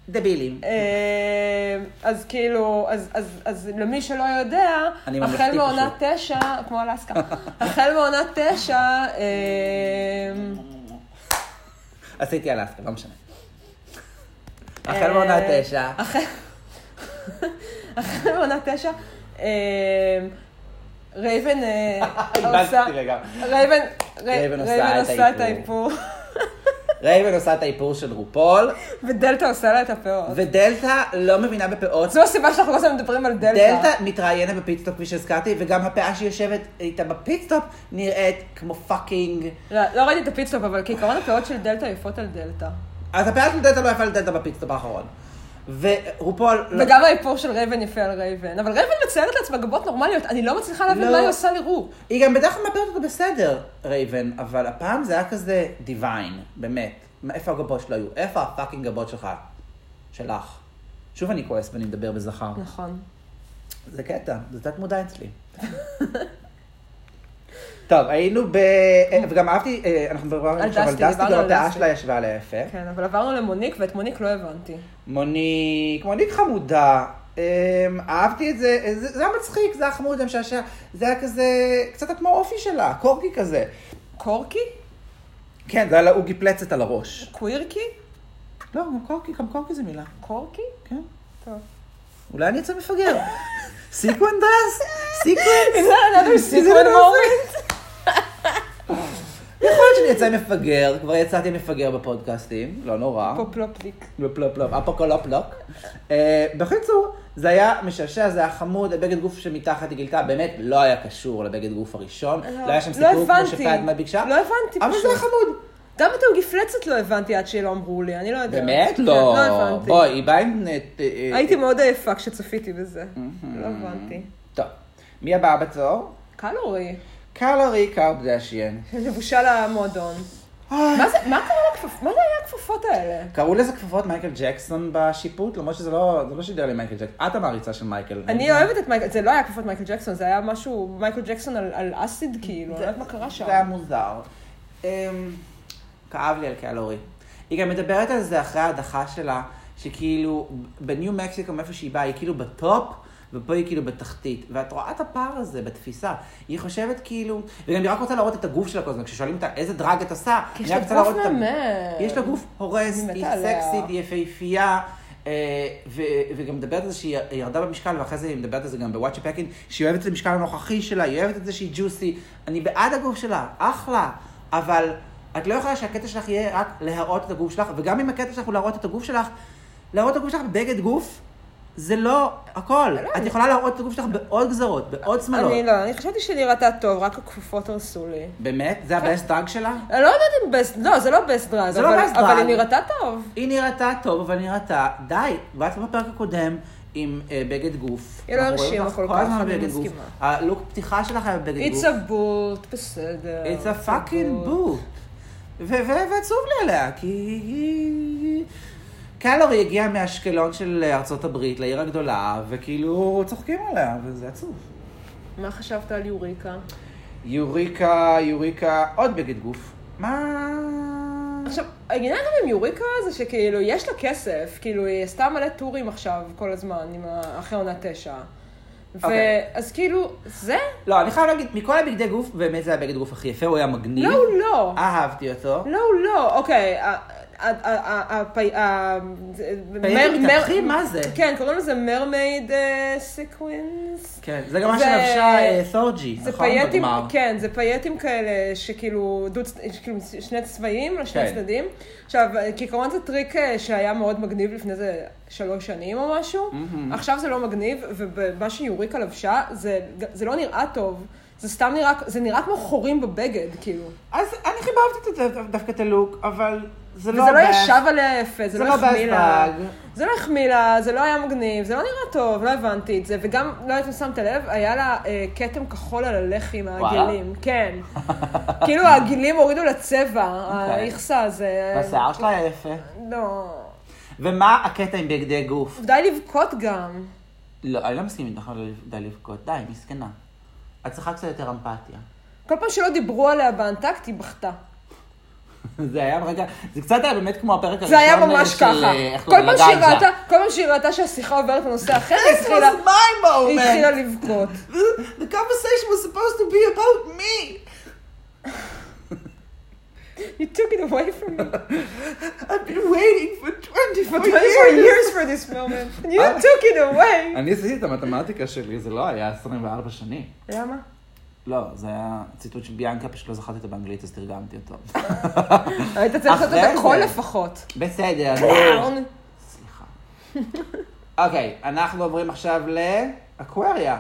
Speaker 1: דבילים.
Speaker 2: אה, אז כאילו, אז, אז, אז למי שלא יודע,
Speaker 1: אני ממלכתי
Speaker 2: החל מעונה
Speaker 1: פשוט.
Speaker 2: תשע, כמו אלסקה, החל מעונה תשע, אה,
Speaker 1: עשיתי אלסקה, לא משנה.
Speaker 2: אה,
Speaker 1: החל מעונה תשע.
Speaker 2: החל החל מעונה תשע, אה, רייבן אה,
Speaker 1: איבדתי
Speaker 2: עושה,
Speaker 1: רגע.
Speaker 2: רייבן, רי-
Speaker 1: רייבן עושה
Speaker 2: רייבן
Speaker 1: את
Speaker 2: עושה את
Speaker 1: האיפור.
Speaker 2: האיפור,
Speaker 1: רייבן עושה את האיפור של רופול,
Speaker 2: ודלתא עושה לה את הפאות.
Speaker 1: ודלתא לא מבינה בפאות.
Speaker 2: זו הסיבה שאנחנו כל הזמן מדברים על דלתא.
Speaker 1: דלתא מתראיינת בפיטסטופ, כפי שהזכרתי, וגם הפאה שיושבת איתה בפיטסטופ נראית כמו פאקינג...
Speaker 2: לא לא ראיתי את הפיצטופ, אבל כעיקרון הפאות של דלתא יפות על דלתא.
Speaker 1: אז הפאה של דלתא לא יפה לדלתא בפיטסטופ האחרון. ורופול... לא-
Speaker 2: וגם האיפור של רייבן יפה על רייבן. אבל רייבן מציירת לעצמה גבות נורמליות, אני לא מצליחה להבין
Speaker 1: לא.
Speaker 2: מה היא עושה לרוב.
Speaker 1: היא גם בדרך כלל מאפרת אותו בסדר, רייבן, אבל הפעם זה היה כזה דיוויין, באמת. מה- איפה הגבות שלו היו? איפה הפאקינג גבות שלך? שלך. שוב אני כועס ואני מדבר בזכר.
Speaker 2: לא. נכון.
Speaker 1: זה קטע, זה תת מודע אצלי. טוב, היינו ב... אה, וגם אהבתי, אה, אנחנו מדברים
Speaker 2: על
Speaker 1: עכשיו על
Speaker 2: דסטי,
Speaker 1: דסטי,
Speaker 2: דיברנו
Speaker 1: גם
Speaker 2: על
Speaker 1: הדעה
Speaker 2: דסטי.
Speaker 1: שלה ישבה עליה יפה.
Speaker 2: כן, אבל עברנו למוניק, ואת מוניק לא הבנתי.
Speaker 1: מוניק, מוניק חמודה. אמ, אהבתי את זה, זה, זה היה מצחיק, זה היה חמוד, זה היה משעשע, זה היה כזה, קצת כמו האופי שלה, קורקי כזה.
Speaker 2: קורקי?
Speaker 1: כן, זה היה לה עוגי פלצת על הראש.
Speaker 2: קווירקי?
Speaker 1: לא, גם קורקי, גם קורקי זה מילה,
Speaker 2: קורקי?
Speaker 1: כן.
Speaker 2: טוב.
Speaker 1: אולי אני אצא מפגר. לא, סיקוונדס, סיקוונדס.
Speaker 2: Is that another sequel moment?
Speaker 1: יכול להיות שאני אצא מפגר, כבר יצאתי מפגר בפודקאסטים, לא נורא.
Speaker 2: פופלופליק.
Speaker 1: פלופלופ, אפוקולופלוק. לא, אה, בקיצור, זה היה משעשע, זה היה חמוד, הבגד גוף שמתחת היא גילתה, באמת לא היה קשור לבגד גוף הראשון. לא היה שם
Speaker 2: לא
Speaker 1: סיפור כמו
Speaker 2: הבנתי.
Speaker 1: שפדמה ביקשה.
Speaker 2: לא הבנתי
Speaker 1: אבל זה היה
Speaker 2: פשוט.
Speaker 1: חמוד.
Speaker 2: גם את המגפלצת לא הבנתי עד שלא אמרו לי, אני לא יודעת.
Speaker 1: באמת?
Speaker 2: כן,
Speaker 1: לא.
Speaker 2: לא הבנתי.
Speaker 1: בואי, היא באה עם... אה, אה,
Speaker 2: הייתי
Speaker 1: אה,
Speaker 2: מאוד עייפה כשצפיתי בזה. לא הבנתי.
Speaker 1: טוב. מי הבאה בתור?
Speaker 2: קלורי.
Speaker 1: קלרי קרבדשיין.
Speaker 2: לבושה למועדון. מה זה, מה קרה לכפפות? מה זה היה הכפפות האלה?
Speaker 1: קראו לזה כפפות מייקל ג'קסון בשיפוט, למרות שזה לא, זה לא שידר לי מייקל ג'קסון. את המעריצה של מייקל.
Speaker 2: אני אוהבת את מייקל, זה לא היה כפפות מייקל ג'קסון, זה היה משהו, מייקל ג'קסון על- על אסיד כאילו, אני לא יודעת מה קרה שם.
Speaker 1: זה היה מוזר. אמ, כאב לי על קלורי. היא גם מדברת על זה אחרי ההדחה שלה, שכאילו בניו מקסיקו, מאיפה שהיא באה, היא כאילו בטופ. ופה היא כאילו בתחתית, ואת רואה את הפער הזה בתפיסה. היא חושבת כאילו, וגם היא רק רוצה להראות את הגוף שלה כל הזמן, כששואלים אותה איזה דרג את עושה,
Speaker 2: כי יש
Speaker 1: היא רק
Speaker 2: לה
Speaker 1: רוצה
Speaker 2: גוף
Speaker 1: להראות את ה-
Speaker 2: מהמם.
Speaker 1: יש לה גוף הורס,
Speaker 2: אני מתה
Speaker 1: היא
Speaker 2: עליה.
Speaker 1: סקסית, היא יפהפייה, אה, ו- וגם מדברת על זה שהיא ירדה במשקל, ואחרי זה היא מדברת על זה גם בוואטשה פקינג, שהיא אוהבת את המשקל הנוכחי שלה, היא אוהבת את זה שהיא ג'וסי. אני בעד הגוף שלה, אחלה, אבל את לא יכולה שהקטע שלך יהיה רק להראות את הגוף שלך, וגם אם הקטע שלך הוא להראות את הגוף שלך, להראות את הגוף שלך בבגד גוף, זה לא הכל. את יכולה להראות את הגוף שלך בעוד גזרות, בעוד שמלות.
Speaker 2: אני לא, אני חשבתי שהיא נראתה טוב, רק הכפפות הרסו לי.
Speaker 1: באמת? זה הבאסט דאג שלה?
Speaker 2: אני לא יודעת אם בסט, לא, זה לא בסט דרג,
Speaker 1: זה לא
Speaker 2: אבל-
Speaker 1: best
Speaker 2: אבל
Speaker 1: drag.
Speaker 2: היא נראתה טוב.
Speaker 1: היא נראתה טוב, אבל נראתה, די, ואת בפרק הקודם עם אה, בגד גוף.
Speaker 2: היא לא
Speaker 1: אנחנו רואים
Speaker 2: הרשימה
Speaker 1: אותך
Speaker 2: כל
Speaker 1: כל
Speaker 2: כך,
Speaker 1: הזמן
Speaker 2: אני
Speaker 1: בבגד גוף.
Speaker 2: מסכימה.
Speaker 1: הלוק פתיחה שלך היה בגד גוף.
Speaker 2: It's a boot, בסדר.
Speaker 1: It's a fucking
Speaker 2: boot.
Speaker 1: boot. ו- ו- ועצוב לי עליה, כי... היא- קלורי הגיעה מאשקלון של ארצות הברית לעיר הגדולה, וכאילו צוחקים עליה, וזה עצוב.
Speaker 2: מה חשבת על יוריקה?
Speaker 1: יוריקה, יוריקה, עוד בגד גוף. מה...
Speaker 2: עכשיו, העניין גם עם יוריקה זה שכאילו, יש לה כסף, כאילו, היא עשתה מלא טורים עכשיו, כל הזמן, עם ה- אחרי עונה תשע.
Speaker 1: אוקיי.
Speaker 2: ואז כאילו, זה?
Speaker 1: לא, אני חייב להגיד, מכל הבגדי גוף, באמת זה הבגד גוף הכי יפה, הוא היה מגניב.
Speaker 2: לא, הוא
Speaker 1: אה,
Speaker 2: לא.
Speaker 1: אהבתי אותו.
Speaker 2: לא, הוא לא. אוקיי, ה- ה- ה- ה- הפי- ה- מר- מר-
Speaker 1: תפחי, מה זה?
Speaker 2: כן, קוראים לזה מרמייד אה, סיקווינס.
Speaker 1: כן, זה גם מה
Speaker 2: זה-
Speaker 1: שלבשה אה, תורג'י,
Speaker 2: זה
Speaker 1: נכון?
Speaker 2: פייטים,
Speaker 1: בגמר.
Speaker 2: כן, זה פייטים כאלה שכאילו, דו, כאילו שני צבעים לשני
Speaker 1: כן.
Speaker 2: צדדים. עכשיו, כעיקרון זה טריק אה, שהיה מאוד מגניב לפני זה שלוש שנים או משהו. עכשיו זה לא מגניב, ומה שיוריקה לבשה, זה, זה לא נראה טוב. זה סתם נראה, זה נראה כמו חורים בבגד, כאילו.
Speaker 1: אז אני חיבבתי את זה דווקא את הלוק, אבל זה לא...
Speaker 2: וזה לא
Speaker 1: הבעיה.
Speaker 2: ישב עליה יפה,
Speaker 1: זה
Speaker 2: זה לא
Speaker 1: לא
Speaker 2: החמיא לה.
Speaker 1: באספג.
Speaker 2: זה לא החמיא לה, זה לא היה מגניב, זה לא נראה טוב, לא הבנתי את זה. וגם, לא יודעת אם שמת לב, היה לה אה, כתם כחול על הלחי מהגילים. כן. כאילו הגילים הורידו לצבע,
Speaker 1: אוקיי.
Speaker 2: האיכסה הזה.
Speaker 1: והשיער שלה היה יפה.
Speaker 2: לא.
Speaker 1: ומה הקטע עם בגדי גוף?
Speaker 2: די לבכות גם.
Speaker 1: לא, אני לא מסכים איתך, לא די לבכות. די, מסכנה. את צריכה קצת יותר אמפתיה.
Speaker 2: כל פעם שלא דיברו עליה באנטקט, היא בכתה.
Speaker 1: זה היה רגע, זה קצת היה באמת כמו הפרק הראשון
Speaker 2: זה היה ממש
Speaker 1: של,
Speaker 2: ככה.
Speaker 1: אה, איך
Speaker 2: כל
Speaker 1: קוראים
Speaker 2: פעם
Speaker 1: לה,
Speaker 2: שהיא
Speaker 1: גאג'ה.
Speaker 2: ראתה- כל פעם שהיא ראתה שהשיחה עוברת לנושא אחר, היא
Speaker 1: This
Speaker 2: התחילה-
Speaker 1: was my
Speaker 2: היא
Speaker 1: moment.
Speaker 2: התחילה לבכות.
Speaker 1: The conversation was supposed to be about me.
Speaker 2: You took it away from me.
Speaker 1: I've been waiting for 24
Speaker 2: for 24 years for this moment. And you
Speaker 1: אה?
Speaker 2: took it away.
Speaker 1: אני עשיתי את המתמטיקה שלי, זה לא היה 24 שנים.
Speaker 2: למה?
Speaker 1: לא, זה היה ציטוט של ביאנקה, פשוט לא זכרתי אותו באנגלית, אז תרגמתי אותו.
Speaker 2: היית צריך לעשות
Speaker 1: אחרי
Speaker 2: את הכל
Speaker 1: זה. כן.
Speaker 2: לפחות.
Speaker 1: בסדר.
Speaker 2: קלאון.
Speaker 1: סליחה. אוקיי, אנחנו עוברים עכשיו לאקווריה.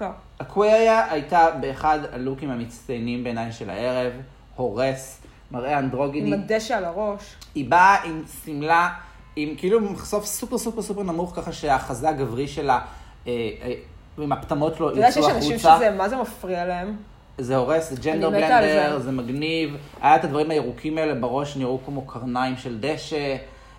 Speaker 2: לא,
Speaker 1: אקווריה הייתה באחד הלוקים המצטיינים בעיניי של הערב, הורס, מראה
Speaker 2: עם
Speaker 1: אנדרוגיני.
Speaker 2: הדשא על הראש.
Speaker 1: היא באה עם שמלה, עם כאילו מחשוף סופר סופר סופר נמוך, ככה שהחזה הגברי שלה, אה, אה, עם הפטמות שלו
Speaker 2: אתה יודע
Speaker 1: יצאו
Speaker 2: שיש
Speaker 1: החוצה.
Speaker 2: אנשים שזה, מה זה מפריע להם?
Speaker 1: זה הורס, זה ג'נדר
Speaker 2: אני מתה על
Speaker 1: בלנדר,
Speaker 2: זה.
Speaker 1: זה מגניב. היה את הדברים הירוקים האלה בראש, נראו כמו קרניים של דשא.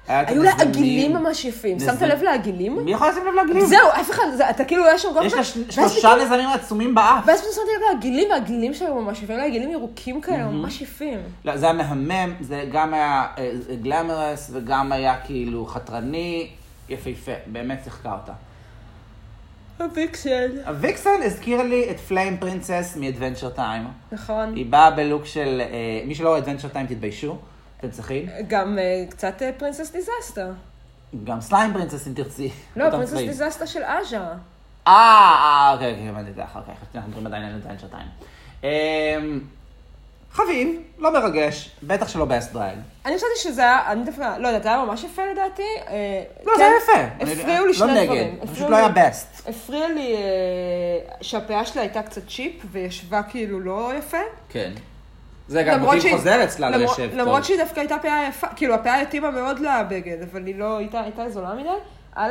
Speaker 1: היה את
Speaker 2: היו לה
Speaker 1: המזרונים.
Speaker 2: עגילים ממש יפים.
Speaker 1: נזר-
Speaker 2: שמת לב לעגילים?
Speaker 1: מי יכול לשים לב לעגלים?
Speaker 2: זהו, אף אחד, זה- אתה כאילו היה שם כל
Speaker 1: יש
Speaker 2: הזמן,
Speaker 1: לה
Speaker 2: ואז
Speaker 1: ש- שלושה
Speaker 2: פתאום-
Speaker 1: נזמים עצומים באף.
Speaker 2: ואז פתאום שמתי לב לעגילים, והעגילים שלו ממש יפים, לעגילים ירוקים כאלה, ממש יפים.
Speaker 1: לא, זה היה מהמם, זה גם היה אה, גלמרס וגם היה כאילו חתרני, יפהפה, באמת שיחקה אותה.
Speaker 2: הפיקסל.
Speaker 1: הוויקסן הזכיר לי את פליים פרינסס מאדוונצ'ר טיים.
Speaker 2: נכון.
Speaker 1: היא באה בלוק של, אה, מי שלא רואה אדוונצ'ר טיים תתביישו, אתם צריכים.
Speaker 2: גם אה, קצת פרינסס דיזסטה. גם
Speaker 1: גם סליים פרינסס אם תרצי.
Speaker 2: לא,
Speaker 1: אותם
Speaker 2: פרינסס
Speaker 1: צבעים.
Speaker 2: דיזסטה של עז'ה.
Speaker 1: אה, אה, אוקיי, אוקיי, הבנתי את זה אחר כך, אנחנו מדברים עדיין על אדוונצ'ר טיים. חביב, לא מרגש, בטח שלא באסט דרייג.
Speaker 2: אני חשבתי שזה היה, אני דווקא, לא יודעת, זה היה ממש יפה לדעתי. אה,
Speaker 1: לא,
Speaker 2: כן,
Speaker 1: זה היה יפה.
Speaker 2: הפריעו
Speaker 1: אני-
Speaker 2: לי שני דברים.
Speaker 1: לא נגד, פשוט
Speaker 2: הפריעו
Speaker 1: לא היה
Speaker 2: לי-
Speaker 1: בסט.
Speaker 2: הפריע לי אה, שהפאה שלה הייתה קצת צ'יפ, וישבה כאילו לא יפה.
Speaker 1: כן. זה גם
Speaker 2: למרות
Speaker 1: מוטיב
Speaker 2: שהיא-
Speaker 1: חוזר אצלה לא
Speaker 2: למרות-
Speaker 1: יושב טוב.
Speaker 2: למרות שהיא דווקא הייתה פאה יפה, כאילו הפאה התאימה מאוד לבגד, אבל היא לא, הייתה, הייתה זולה מדי, א',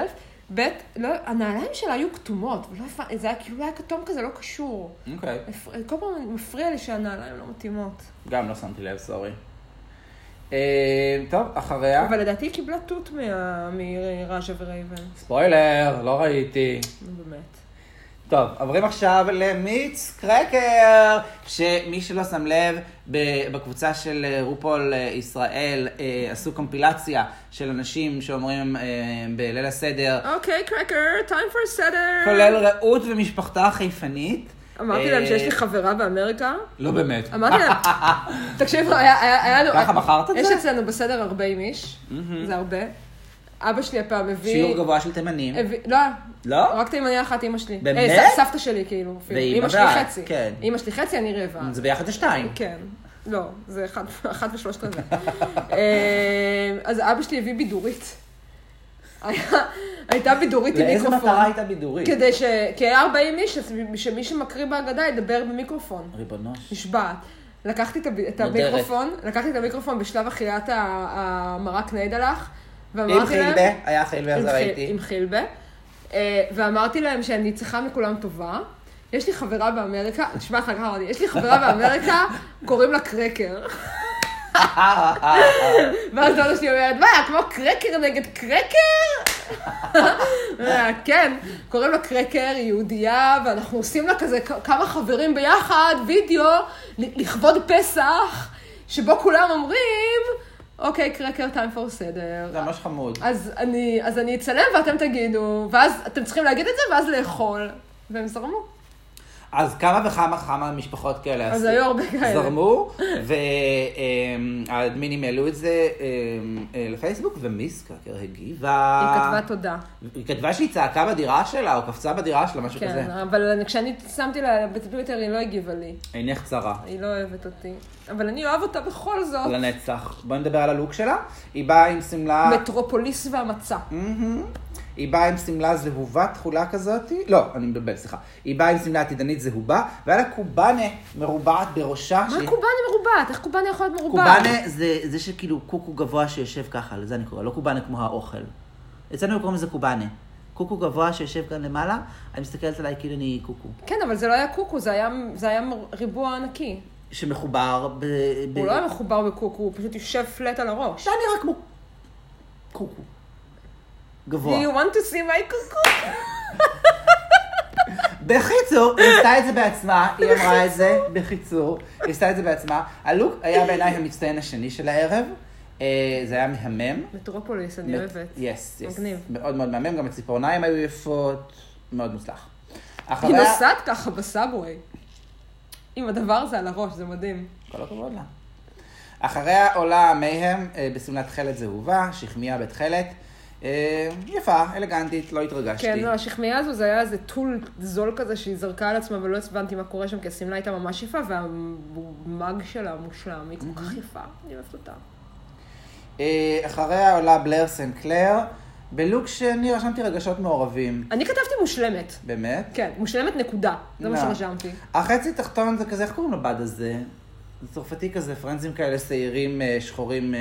Speaker 2: ב', לא, הנעליים שלה היו כתומות, ולא הבנתי, זה היה כאילו היה כתום כזה, לא קשור.
Speaker 1: אוקיי,
Speaker 2: מפ- כל פעם מפריע לי שהנעליים לא מתאימות.
Speaker 1: גם לא שמתי לב, סורי. אה, טוב, אחריה.
Speaker 2: אבל לדעתי היא קיבלה תות מה- מראז'ה ורייבן.
Speaker 1: ספוילר, לא ראיתי.
Speaker 2: נו, באמת.
Speaker 1: טוב, עוברים עכשיו למיץ קרקר, שמי שלא שם לב, ב- בקבוצה של אה, רופול אה, ישראל אה, עשו קומפילציה של אנשים שאומרים אה, בליל הסדר,
Speaker 2: אוקיי, קרקר, time for סדר.
Speaker 1: כולל רעות ומשפחתה החיפנית. אה,
Speaker 2: אמרתי להם שיש לי חברה באמריקה.
Speaker 1: לא באמת.
Speaker 2: אמרתי להם, תקשיב, היה- היה היה לנו...
Speaker 1: ככה בחרת את
Speaker 2: יש
Speaker 1: זה?
Speaker 2: אצלנו בסדר 40 איש, זה הרבה. אבא שלי הפעם הביא...
Speaker 1: שיעור גבוה של תימנים.
Speaker 2: הביא- לא,
Speaker 1: לא?
Speaker 2: רק תימניה אחת, אימא שלי.
Speaker 1: באמת?
Speaker 2: אה, ס- סבתא שלי, כאילו. אפילו.
Speaker 1: ואימא
Speaker 2: אימא שלי
Speaker 1: ואת,
Speaker 2: חצי.
Speaker 1: כן.
Speaker 2: אימא שלי חצי, אני רבע.
Speaker 1: זה ביחד זה שתיים.
Speaker 2: כן. לא, זה אחד- אחת ושלושת רבעי. אה, אז אבא שלי הביא בידורית. היה- הייתה בידורית עם
Speaker 1: לאיזה
Speaker 2: מיקרופון.
Speaker 1: מטרה הייתה בידורית?
Speaker 2: כדי ש... כי היה 40 איש, אז שמי שמקריא בהגדה ידבר במיקרופון.
Speaker 1: ריבונו של...
Speaker 2: נשבעת. לקחתי את הב- את
Speaker 1: נודרת.
Speaker 2: המיקרופון, לקחתי את המיקרופון בשלב אכילת ה- המרק נעיד הלך,
Speaker 1: עם
Speaker 2: ואמרתי להם...
Speaker 1: חילבה, היה חילבה, אז
Speaker 2: עם חיל-
Speaker 1: ראיתי.
Speaker 2: עם חילבה. אה, ואמרתי להם שאני צריכה מכולם טובה. יש לי חברה באמריקה, תשמע אחר כך אמרתי, יש לי חברה באמריקה, קוראים לה קרקר.
Speaker 1: אה,
Speaker 2: ואז דודה שלי אומרת, מה, כמו קרקר נגד קרקר? אה, כן, קוראים לה קרקר, היא יהודייה, ואנחנו עושים לה כזה כ- כמה חברים ביחד, וידאו, ל- לכבוד פסח, שבו כולם אומרים, אוקיי, קרקר, טיים פור סדר.
Speaker 1: זה ממש חמוד.
Speaker 2: אז אני, אז אני אצלם ואתם תגידו, ואז אתם צריכים להגיד את זה ואז לאכול. והם זרמו.
Speaker 1: אז כמה וכמה וכמה משפחות כאלה
Speaker 2: אז
Speaker 1: עשו.
Speaker 2: היו הרבה כאלה.
Speaker 1: זרמו, והאדמינים העלו את זה אמ, אה, לפייסבוק, ומיס קרקר הגיבה.
Speaker 2: היא כתבה תודה.
Speaker 1: היא כתבה שהיא צעקה בדירה שלה, או קפצה בדירה שלה, משהו כזה.
Speaker 2: כן, אבל אני- כשאני שמתי לה בטוויטר היא לא הגיבה לי.
Speaker 1: עינך צרה.
Speaker 2: היא לא אוהבת אותי. אבל אני אוהב אותה בכל זאת.
Speaker 1: לנצח. בואי נדבר על הלוק שלה. היא באה עם שמלה...
Speaker 2: מטרופוליס והמצה.
Speaker 1: מהמם. היא באה עם שמלה זהובה תכולה כזאת, לא, אני מבלבל, סליחה. היא באה עם שמלה עתידנית זהובה, והיה לה קובאנה מרובעת בראשה.
Speaker 2: מה
Speaker 1: שהיא-
Speaker 2: קובאנה מרובעת? איך קובאנה יכול להיות מרובעת?
Speaker 1: קובאנה זה, זה שכאילו קוקו גבוה שיושב ככה, לזה אני קורא, לא קובאנה כמו האוכל. אצלנו קוראים לזה קובאנה. קוקו גבוה שיושב כאן למעלה, אני מסתכלת עליי כאילו אני קוקו.
Speaker 2: כן, אבל זה לא היה קוקו, זה היה, זה היה מר- ריבוע ענקי.
Speaker 1: שמחובר ב... ב...
Speaker 2: הוא לא היה מחובר בקוקו, הוא פשוט יושב פלט על הראש.
Speaker 1: אתה נראה כמו קוקו.
Speaker 2: Do
Speaker 1: גבוה.
Speaker 2: you want to see my קוקו?
Speaker 1: בקיצור, היא עשתה את זה בעצמה, היא אמרה את זה, בקיצור, היא עשתה את זה בעצמה. הלוק היה בעיניי המצטיין השני של הערב, אה, זה היה מהמם.
Speaker 2: מטרופוליס, אני אוהבת.
Speaker 1: יס, יס.
Speaker 2: מגניב.
Speaker 1: מאוד מאוד מהמם, גם הציפורניים היו יפות, מאוד מוצלח.
Speaker 2: היא
Speaker 1: אחריה...
Speaker 2: נוסעת ככה בסאבווי. עם הדבר הזה על הראש, זה מדהים.
Speaker 1: כל הכבוד לה. אחריה עולה מייהם אה, בשמלת תכלת זהובה, שכמיה בתכלת. אה, יפה, אלגנטית, לא התרגשתי.
Speaker 2: כן, לא, השכמיה הזו זה היה איזה טול זול כזה שהיא זרקה על עצמה ולא הבנתי מה קורה שם, כי השמלה הייתה ממש יפה, והמאג שלה מושלם, היא כל כך
Speaker 1: Mm-hmm.
Speaker 2: יפה, אני אוהבת אותה.
Speaker 1: אה, אחריה עולה בלר סנקלר, בלוק שאני רשמתי רגשות מעורבים.
Speaker 2: אני כתבתי מושלמת.
Speaker 1: באמת?
Speaker 2: כן, מושלמת נקודה, זה מה
Speaker 1: לא.
Speaker 2: שרשמתי.
Speaker 1: החצי תחתון זה כזה, איך קוראים לבד הזה? זה צרפתי כזה, פרנזים כאלה שעירים, אה, שחורים, אה,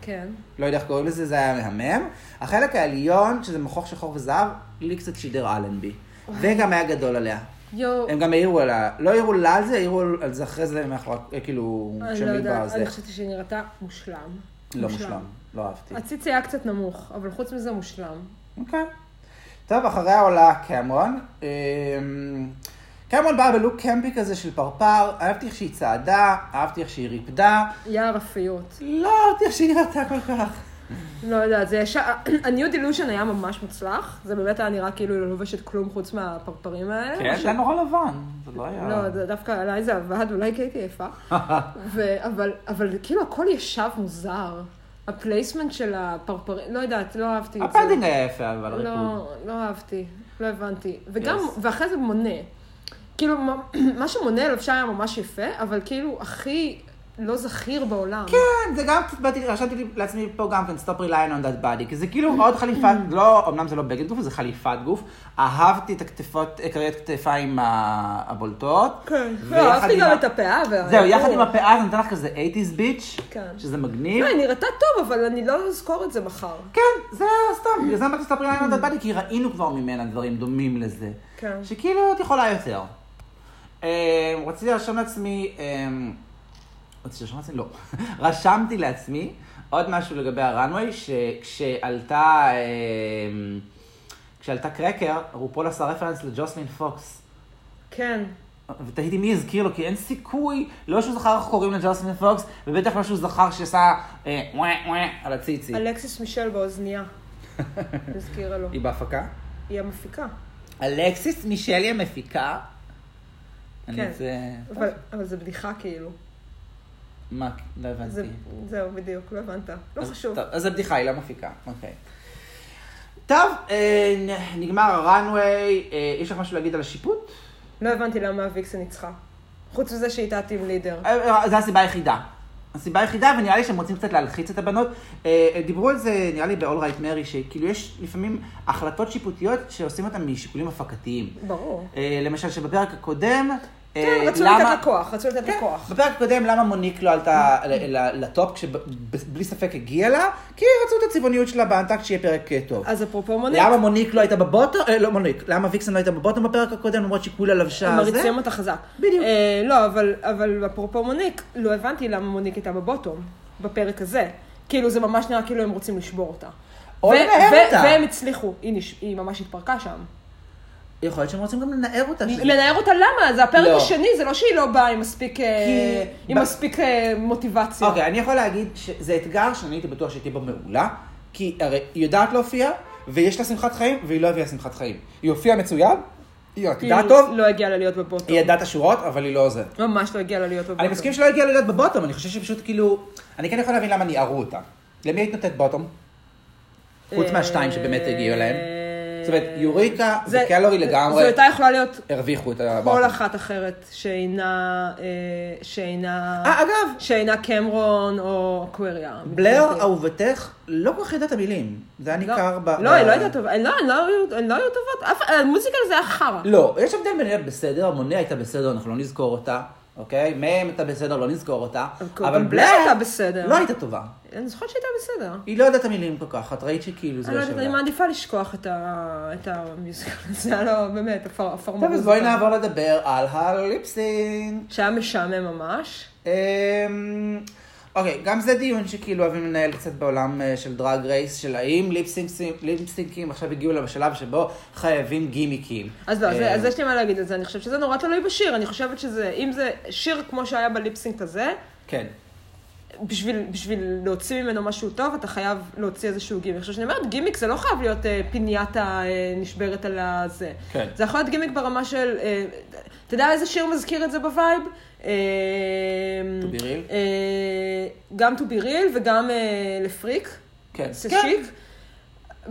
Speaker 2: כן.
Speaker 1: לא יודע איך קוראים לזה, זה היה מהמם. החלק העליון, שזה מכוך שחור וזהב, לי קצת שידר אלנבי. וגם היה גדול עליה.
Speaker 2: יואו,
Speaker 1: הם גם העירו עליה, לא העירו לה על זה, העירו על זה אחרי זה מאחורי, אה, כאילו,
Speaker 2: אני לא
Speaker 1: כשהם העירו על
Speaker 2: יודעת,
Speaker 1: זה.
Speaker 2: אני חשבתי שהיא נראתה מושלם.
Speaker 1: לא
Speaker 2: מושלם.
Speaker 1: מושלם, לא אהבתי.
Speaker 2: הציץ היה קצת נמוך, אבל חוץ מזה מושלם.
Speaker 1: אוקיי. טוב, אחריה עולה קמרון. אמ, קמרון באה בלוק קמפי כזה של פרפר, אהבתי איך שהיא צעדה, אהבתי איך שהיא ריפדה,
Speaker 2: יער אפיות.
Speaker 1: לא אהבתי איך שהיא נראתה כל כך.
Speaker 2: לא יודעת, זה ישר... ה-new delusion היה ממש מוצלח. זה באמת היה נראה כאילו היא לא לובשת כלום חוץ מהפרפרים האלה.
Speaker 1: כן, זה היה נורא לבן, זה לא היה...
Speaker 2: לא, זה דווקא עליי זה עבד, אולי כי הייתי יפה. ו- אבל, אבל כאילו הכל ישב מוזר. הפלייסמנט של הפרפרים, לא יודעת, לא אהבתי את זה.
Speaker 1: הפאדינג היה יפה, אבל הריקוד.
Speaker 2: לא, לא אהבתי, לא הבנתי. וגם,
Speaker 1: Yes.
Speaker 2: ואחרי זה מונה. כאילו, מה- מה שמונה על אפשר היה ממש יפה, אבל כאילו, הכי לא זכיר בעולם.
Speaker 1: כן, זה גם קצת, באתי- רשמתי לי- לעצמי פה גם כן, stop relying on that body, כי זה כאילו עוד חליפת,
Speaker 2: Mm.
Speaker 1: לא, אמנם זה לא בגד גוף, זה חליפת גוף. אהבתי את הכתפות, כריות כתפיים ה- הבולטות.
Speaker 2: לא,
Speaker 1: ויחד
Speaker 2: אהבתי
Speaker 1: עם
Speaker 2: גם
Speaker 1: ה-
Speaker 2: את הפאה. וה-
Speaker 1: זהו, יחד עם
Speaker 2: הפאה.
Speaker 1: הפאה זה נותן לך כזה 80's ביץ',
Speaker 2: כן.
Speaker 1: שזה מגניב.
Speaker 2: לא, היא נראתה טוב, אבל אני לא אזכור את זה מחר.
Speaker 1: כן, זה היה סתם, בגלל זה אמרתי סתם פרינה לנדד בדי, כי ראינו כבר ממנה דברים דומים לזה.
Speaker 2: כן.
Speaker 1: שכאילו את יכולה יותר. אה, רציתי לרשום לעצמי, אה, רציתי לרשום לעצמי? לא. רשמתי לעצמי עוד משהו לגבי הראנווי, שכשעלתה, אה, כשעלתה קרקר, רופול עשה רפרנס לג'וסלין פוקס.
Speaker 2: כן.
Speaker 1: ותהיתי מי הזכיר לו, כי אין סיכוי, לא שהוא זכר איך קוראים לג'וסלין פוקס, ובטח לא שהוא זכר שעשה אה, וואה וואה על הציצי.
Speaker 2: אלכסיס מישל באוזנייה. הזכירה לו.
Speaker 1: היא בהפקה?
Speaker 2: היא המפיקה.
Speaker 1: אלכסיס מישלי המפיקה. אני
Speaker 2: כן.
Speaker 1: זה...
Speaker 2: אבל אבל זה בדיחה כאילו.
Speaker 1: מה? לא
Speaker 2: זה-
Speaker 1: הבנתי.
Speaker 2: זהו, בדיוק, לא הבנת. לא
Speaker 1: אז-
Speaker 2: חשוב.
Speaker 1: טוב, אז זה בדיחה, היא לא מפיקה. אוקיי. טוב, אה, נ- נגמר הראנוויי. אה, יש לך משהו להגיד על השיפוט?
Speaker 2: לא הבנתי למה הוויקסן ניצחה. חוץ מזה שהיא הייתה טים לידר.
Speaker 1: אה, אה, זו הסיבה היחידה. הסיבה היחידה, ונראה לי שהם רוצים קצת להלחיץ את הבנות. אה, אה, דיברו על זה, נראה לי, ב-all right Mary, שכאילו יש לפעמים החלטות שיפוטיות שעושים אותן משיקולים הפקתיים.
Speaker 2: ברור.
Speaker 1: אה, למשל, שבפרק הקודם... אה,
Speaker 2: כן, רצו
Speaker 1: למה-
Speaker 2: לתת לה כוח, רצו לתת לה כוח.
Speaker 1: כן, בפרק הקודם, למה מוניק לא עלתה ל- ל- לטופ, כשבלי ספק הגיעה לה? כי רצו את הצבעוניות שלה באנטקט שיהיה פרק אה, טוב.
Speaker 2: אז אפרופו מונית,
Speaker 1: למה מוניק לא הייתה בבוטום? אה, לא מוניק. למה ויקסן לא הייתה בבוטום בפרק הקודם, למרות שכולה
Speaker 2: הם
Speaker 1: לבשה זה?
Speaker 2: מריצים אותה חזק.
Speaker 1: בדיוק.
Speaker 2: אה, לא, אבל- אבל אפרופו מוניק, לא הבנתי למה מוניק הייתה בבוטום, בפרק הזה. כאילו, זה ממש נראה כאילו הם רוצים לשבור אותה.
Speaker 1: או
Speaker 2: ו-
Speaker 1: לנער
Speaker 2: ו-
Speaker 1: אותה.
Speaker 2: והם הצליחו, היא נש- היא ממש התפרקה שם.
Speaker 1: יכול להיות שהם רוצים גם לנער אותה. שזה-
Speaker 2: לנער אותה למה? זה הפרק
Speaker 1: לא.
Speaker 2: השני, זה לא שהיא לא באה עם מספיק אה,
Speaker 1: כי-
Speaker 2: עם
Speaker 1: ב-
Speaker 2: מספיק אה, מוטיבציה.
Speaker 1: אוקיי, אני יכול להגיד שזה אתגר שאני הייתי בטוח שהיא תהיה בו מעולה, כי הרי היא יודעת להופיע, ויש לה שמחת חיים, והיא לא הביאה שמחת חיים. היא הופיעה מצוין, היא רקדה
Speaker 2: היא
Speaker 1: טוב,
Speaker 2: לא הגיעה לה להיות בבוטום.
Speaker 1: היא ידעה את השורות, אבל היא לא עוזרת.
Speaker 2: ממש לא הגיעה לה להיות בבוטום.
Speaker 1: אני מסכים שלא הגיע להיות בבוטום, אני חושב שפשוט כאילו... אני כן יכול להבין למה ניערו אותה. למי היית נותנת בוטום?
Speaker 2: אה,
Speaker 1: חוץ מהשתיים שבאמת הגיעו להם. זאת אומרת, יוריקה
Speaker 2: זה-
Speaker 1: וקלורי לגמרי
Speaker 2: זו הייתה יכולה להיות
Speaker 1: הרוויחו את
Speaker 2: כל
Speaker 1: הבוטום.
Speaker 2: אחת אחרת שאינה, אה, שאינה,
Speaker 1: אה, אגב,
Speaker 2: שאינה קמרון או אקוויריה.
Speaker 1: בלר,
Speaker 2: מבחינתי.
Speaker 1: אהובתך, לא כל כך יודעת את המילים. זה היה
Speaker 2: לא,
Speaker 1: ניכר ב...
Speaker 2: לא,
Speaker 1: ב-
Speaker 2: היא לא הייתה טובה, הן לא- הן לא היו- הן לא היו טובות, אף- המוזיקל זה היה חרא.
Speaker 1: לא, יש הבדל בין אלה בסדר, מונה הייתה בסדר, אנחנו לא נזכור אותה, אוקיי? מהם הייתה בסדר, לא נזכור אותה.
Speaker 2: אוקיי,
Speaker 1: אבל
Speaker 2: אבל
Speaker 1: בלר
Speaker 2: בלר הייתה בסדר.
Speaker 1: לא הייתה טובה.
Speaker 2: אני זוכרת שהייתה בסדר.
Speaker 1: היא לא יודעת את המילים כל כך, את ראית שכאילו זה
Speaker 2: אני לא
Speaker 1: לא
Speaker 2: יודעת,
Speaker 1: שווה.
Speaker 2: אני מעדיפה לשכוח את ה- את המוזיקל הזה, היה לו באמת הפר- הפרמוזיקה.
Speaker 1: טוב, אז בואי נעבור לדבר על הליפסינג.
Speaker 2: שהיה משעמם ממש.
Speaker 1: אמ, אוקיי, גם זה דיון שכאילו אוהבים לנהל קצת בעולם אה, של דרג רייס, של האם ליפסינקסים- ליפסינקים עכשיו הגיעו לשלב שבו חייבים גימיקים.
Speaker 2: אז לא,
Speaker 1: אה,
Speaker 2: זה- אז יש לי מה להגיד על זה, אני חושבת שזה נורא תלוי בשיר, אני חושבת שזה, אם זה שיר כמו שהיה בליפסינק הזה,
Speaker 1: כן.
Speaker 2: בשביל, בשביל להוציא ממנו משהו טוב, אתה חייב להוציא איזשהו גימיק. עכשיו, שאני אומרת, גימיק זה לא חייב להיות אה, פינייתה אה, נשברת על הזה.
Speaker 1: כן.
Speaker 2: זה יכול להיות גימיק ברמה של, אה, אתה יודע איזה שיר מזכיר את זה בווייב? אה,
Speaker 1: To be real?
Speaker 2: אה, גם To be real וגם אה, לפריק.
Speaker 1: כן.
Speaker 2: זה
Speaker 1: כן.
Speaker 2: שיק.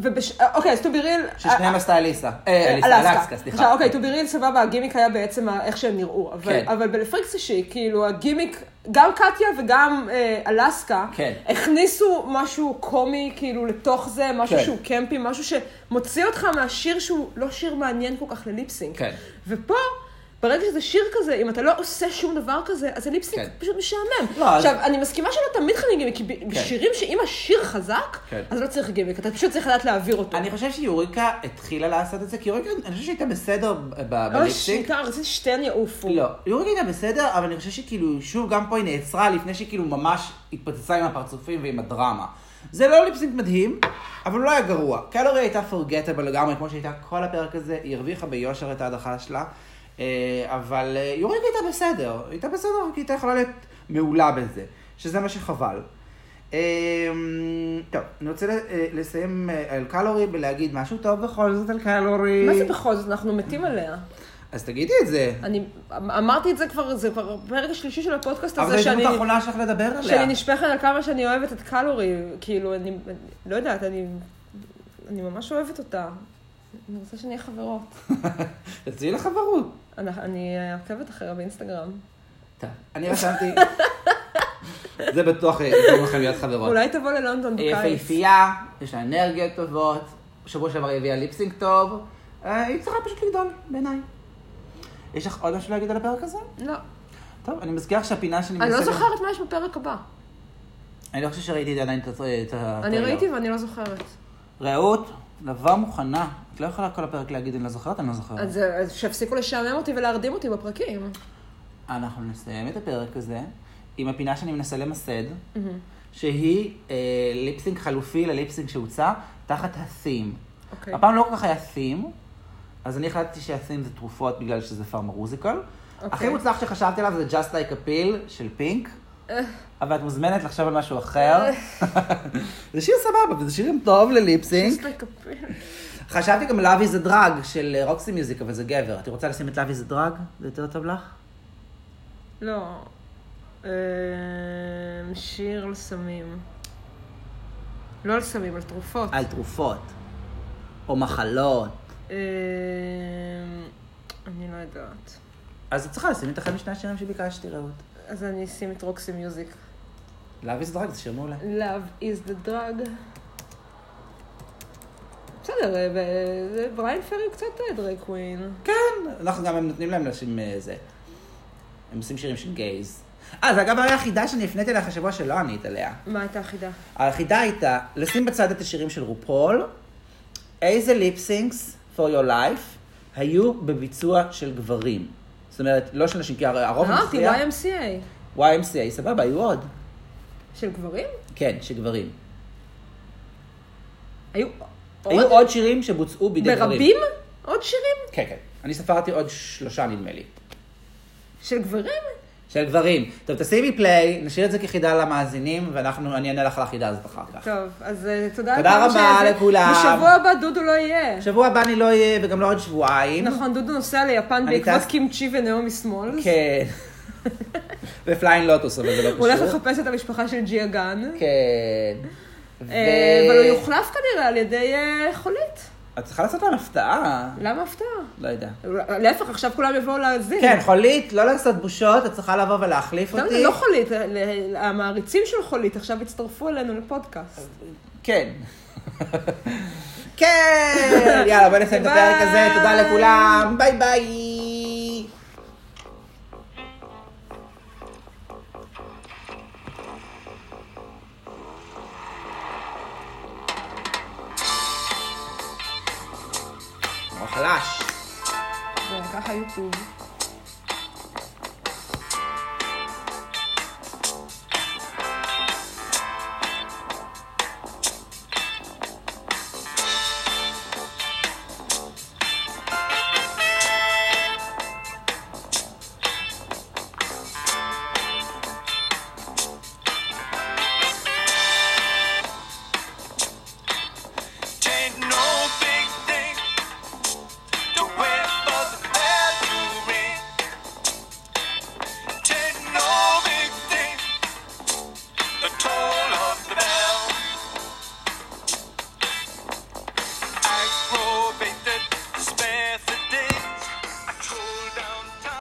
Speaker 2: ובש... אה, אוקיי, אז To be real...
Speaker 1: ששניהם עשתה אליסה. אה, אליסה, אלסקה, סליחה.
Speaker 2: עכשיו, אוקיי, To be real, סבבה, הגימיק היה בעצם ה- איך שהם נראו. אבל-
Speaker 1: כן.
Speaker 2: אבל בלפריקס אישי, כאילו, הגימיק, גם קטיה וגם אה, אלסקה,
Speaker 1: כן.
Speaker 2: הכניסו משהו קומי, כאילו, לתוך זה, משהו
Speaker 1: כן.
Speaker 2: שהוא קמפי, משהו שמוציא אותך מהשיר שהוא לא שיר מעניין כל כך לליפסינק.
Speaker 1: כן.
Speaker 2: ופה... ברגע שזה שיר כזה, אם אתה לא עושה שום דבר כזה, אז הליפסינג
Speaker 1: כן.
Speaker 2: פשוט משעמם.
Speaker 1: לא,
Speaker 2: עכשיו,
Speaker 1: אז-
Speaker 2: אני מסכימה שלא תמיד חייבים גימיק, כי ב- בשירים שאם השיר חזק,
Speaker 1: כן.
Speaker 2: אז לא צריך גימיק, אתה פשוט צריך לדעת להעביר אותו.
Speaker 1: אני חושב שיוריקה התחילה לעשות את זה, כי יוריקה, אני חושב שהייתה בסדר ב- ב-
Speaker 2: ממש,
Speaker 1: בליפסינג.
Speaker 2: ניכר, רציתי ששתיהן יעופו.
Speaker 1: לא, יוריקה הייתה בסדר, אבל אני חושב שכאילו, שוב, גם פה היא נעצרה לפני שהיא כאילו ממש התפוצצה עם הפרצופים ועם הדרמה. זה לא ליפסינג מדהים, אבל לא היה גרוע. קלורי הייתה forgettable לגמרי, כמו שהייתה כל הפרק הזה, היא הרוויחה ביושר את ההדחה שלה, אה, אבל אה, יוריקה הייתה בסדר, היא הייתה בסדר, כי היא הייתה יכולה להיות מעולה בזה, שזה מה שחבל. אה, טוב, אני רוצה אה, לסיים אה, על קלורי ולהגיד משהו טוב בכל זאת על קלורי.
Speaker 2: מה זה בכל זאת? אנחנו מתים עליה.
Speaker 1: אז תגידי את זה.
Speaker 2: אני אמרתי את זה כבר, זה כבר הפרק השלישי של הפודקאסט
Speaker 1: אבל זו
Speaker 2: הזה, שאני...
Speaker 1: ההזדמנות האחרונה שלך לדבר עליה.
Speaker 2: שאני נשפכת על כמה שאני אוהבת את קלורי, כאילו, אני אני לא יודעת, אני אני ממש אוהבת אותה. אני רוצה שנהיה חברות.
Speaker 1: תציעי לך חברות.
Speaker 2: אנחנו- אני עוקבת אחריה באינסטגרם.
Speaker 1: אני רשמתי. זה בטוח יגרום לכם להיות חברות.
Speaker 2: אולי תבוא ללונדון
Speaker 1: היא
Speaker 2: בקיץ.
Speaker 1: יפהפייה, יש לה אנרגיות טובות, בשבוע שעבר היא הביאה ליפסינג טוב, אה, היא צריכה פשוט לגדול, בעיניי. יש לך עוד משהו להגיד על הפרק הזה?
Speaker 2: לא.
Speaker 1: טוב, אני מזכירה לך שהפינה שלי...
Speaker 2: אני לא
Speaker 1: מסתכלת-
Speaker 2: זוכרת מה יש בפרק הבא.
Speaker 1: אני לא חושב שראיתי את זה עדיין את ה...
Speaker 2: אני ראיתי ואני לא זוכרת.
Speaker 1: רעות, לבוא מוכנה. את לא יכולה כל הפרק להגיד אני לא זוכרת, אני לא זוכרת.
Speaker 2: אז אה, אז שיפסיקו לשעמם אותי ולהרדים אותי בפרקים.
Speaker 1: אוקיי. אנחנו נסיים את הפרק הזה עם הפינה שאני מנסה למסד. שהיא אה, ליפסינג חלופי לליפסינג שהוצע תחת הסים.
Speaker 2: אוקיי.
Speaker 1: הפעם לא כל כך היה סים, אז אני החלטתי שהסים זה תרופות בגלל שזה פארמרוזיקל.
Speaker 2: אוקיי.
Speaker 1: הכי מוצלח שחשבתי עליו זה Just Like a Pill של פינק,
Speaker 2: אה.
Speaker 1: אבל את מוזמנת לחשוב על משהו אחר. זה שיר סבבה, וזה שיר טוב לליפסינג. חשבתי גם Love is a Drug של אה, רוקסי מיוזיק, אבל זה גבר. את רוצה לשים את Love is a Drug? זה יותר טוב לך?
Speaker 2: לא. אמ, שיר על סמים. לא על סמים, על תרופות.
Speaker 1: על תרופות, או מחלות.
Speaker 2: אמ, אני לא יודעת.
Speaker 1: אז את צריכה לשים את אחד משני השירים שביקשתי, רעות.
Speaker 2: אז אני אשים את רוקסי מיוזיק.
Speaker 1: Love is a Drug זה שיר מעולה.
Speaker 2: Love is the drug. בסדר, אה, ב- זה- בריין פרי הוא קצת אה, דרי קווין.
Speaker 1: כן, אנחנו גם הם נותנים להם לשים אה, זה. הם עושים שירים של גייז. אה, זה אגב היה החידה שאני הפניתי אליך השבוע שלא ענית עליה.
Speaker 2: מה הייתה החידה?
Speaker 1: החידה הייתה לשים בצד את השירים של רופול, איזה ליפסינגס for your life היו בביצוע של גברים. זאת אומרת, לא של נשים, כי הר- הרוב
Speaker 2: אמרתי
Speaker 1: המכריע...
Speaker 2: YMCA.
Speaker 1: YMCA, סבבה, היו עוד.
Speaker 2: של גברים?
Speaker 1: כן, של גברים.
Speaker 2: היו
Speaker 1: היו
Speaker 2: עוד?
Speaker 1: עוד שירים שבוצעו בידי גברים.
Speaker 2: ברבים? עוד שירים?
Speaker 1: כן, כן. אני ספרתי עוד שלושה, נדמה לי.
Speaker 2: של גברים?
Speaker 1: של גברים. טוב, תשימי פליי, נשאיר את זה כחידה למאזינים, ואנחנו, אני אענה לך על החידה הזאת אחר כך.
Speaker 2: טוב, אז אה, תודה
Speaker 1: תודה
Speaker 2: לכולם
Speaker 1: רבה
Speaker 2: שזה-
Speaker 1: לכולם.
Speaker 2: בשבוע הבא דודו לא יהיה.
Speaker 1: שבוע הבא אני לא אהיה, וגם לא עוד שבועיים.
Speaker 2: נכון, דודו נוסע ליפן
Speaker 1: אני
Speaker 2: בעקבות
Speaker 1: טס-
Speaker 2: קימצ'י ונעמי שמאל.
Speaker 1: כן. ופליין לוטוס, אבל זה לא
Speaker 2: הוא הולך
Speaker 1: קשור.
Speaker 2: לחפש את המשפחה של ג'יה גן.
Speaker 1: כן. ו-
Speaker 2: אה, אבל הוא יוחלף כנראה על ידי אה, חולית.
Speaker 1: את צריכה לעשות להם הפתעה.
Speaker 2: למה הפתעה?
Speaker 1: לא יודע.
Speaker 2: להפך, עכשיו כולם יבואו להאזין.
Speaker 1: כן, חולית, לא לעשות בושות, את צריכה לבוא ולהחליף
Speaker 2: סתם,
Speaker 1: אותי.
Speaker 2: לא חולית, אה, ל- המעריצים של חולית עכשיו יצטרפו אלינו לפודקאסט.
Speaker 1: כן. כן! יאללה, בוא נסיים את הפרק הזה, תודה
Speaker 2: ביי.
Speaker 1: לכולם, ביי ביי! נורא חלש.
Speaker 2: וככה יוטיוב.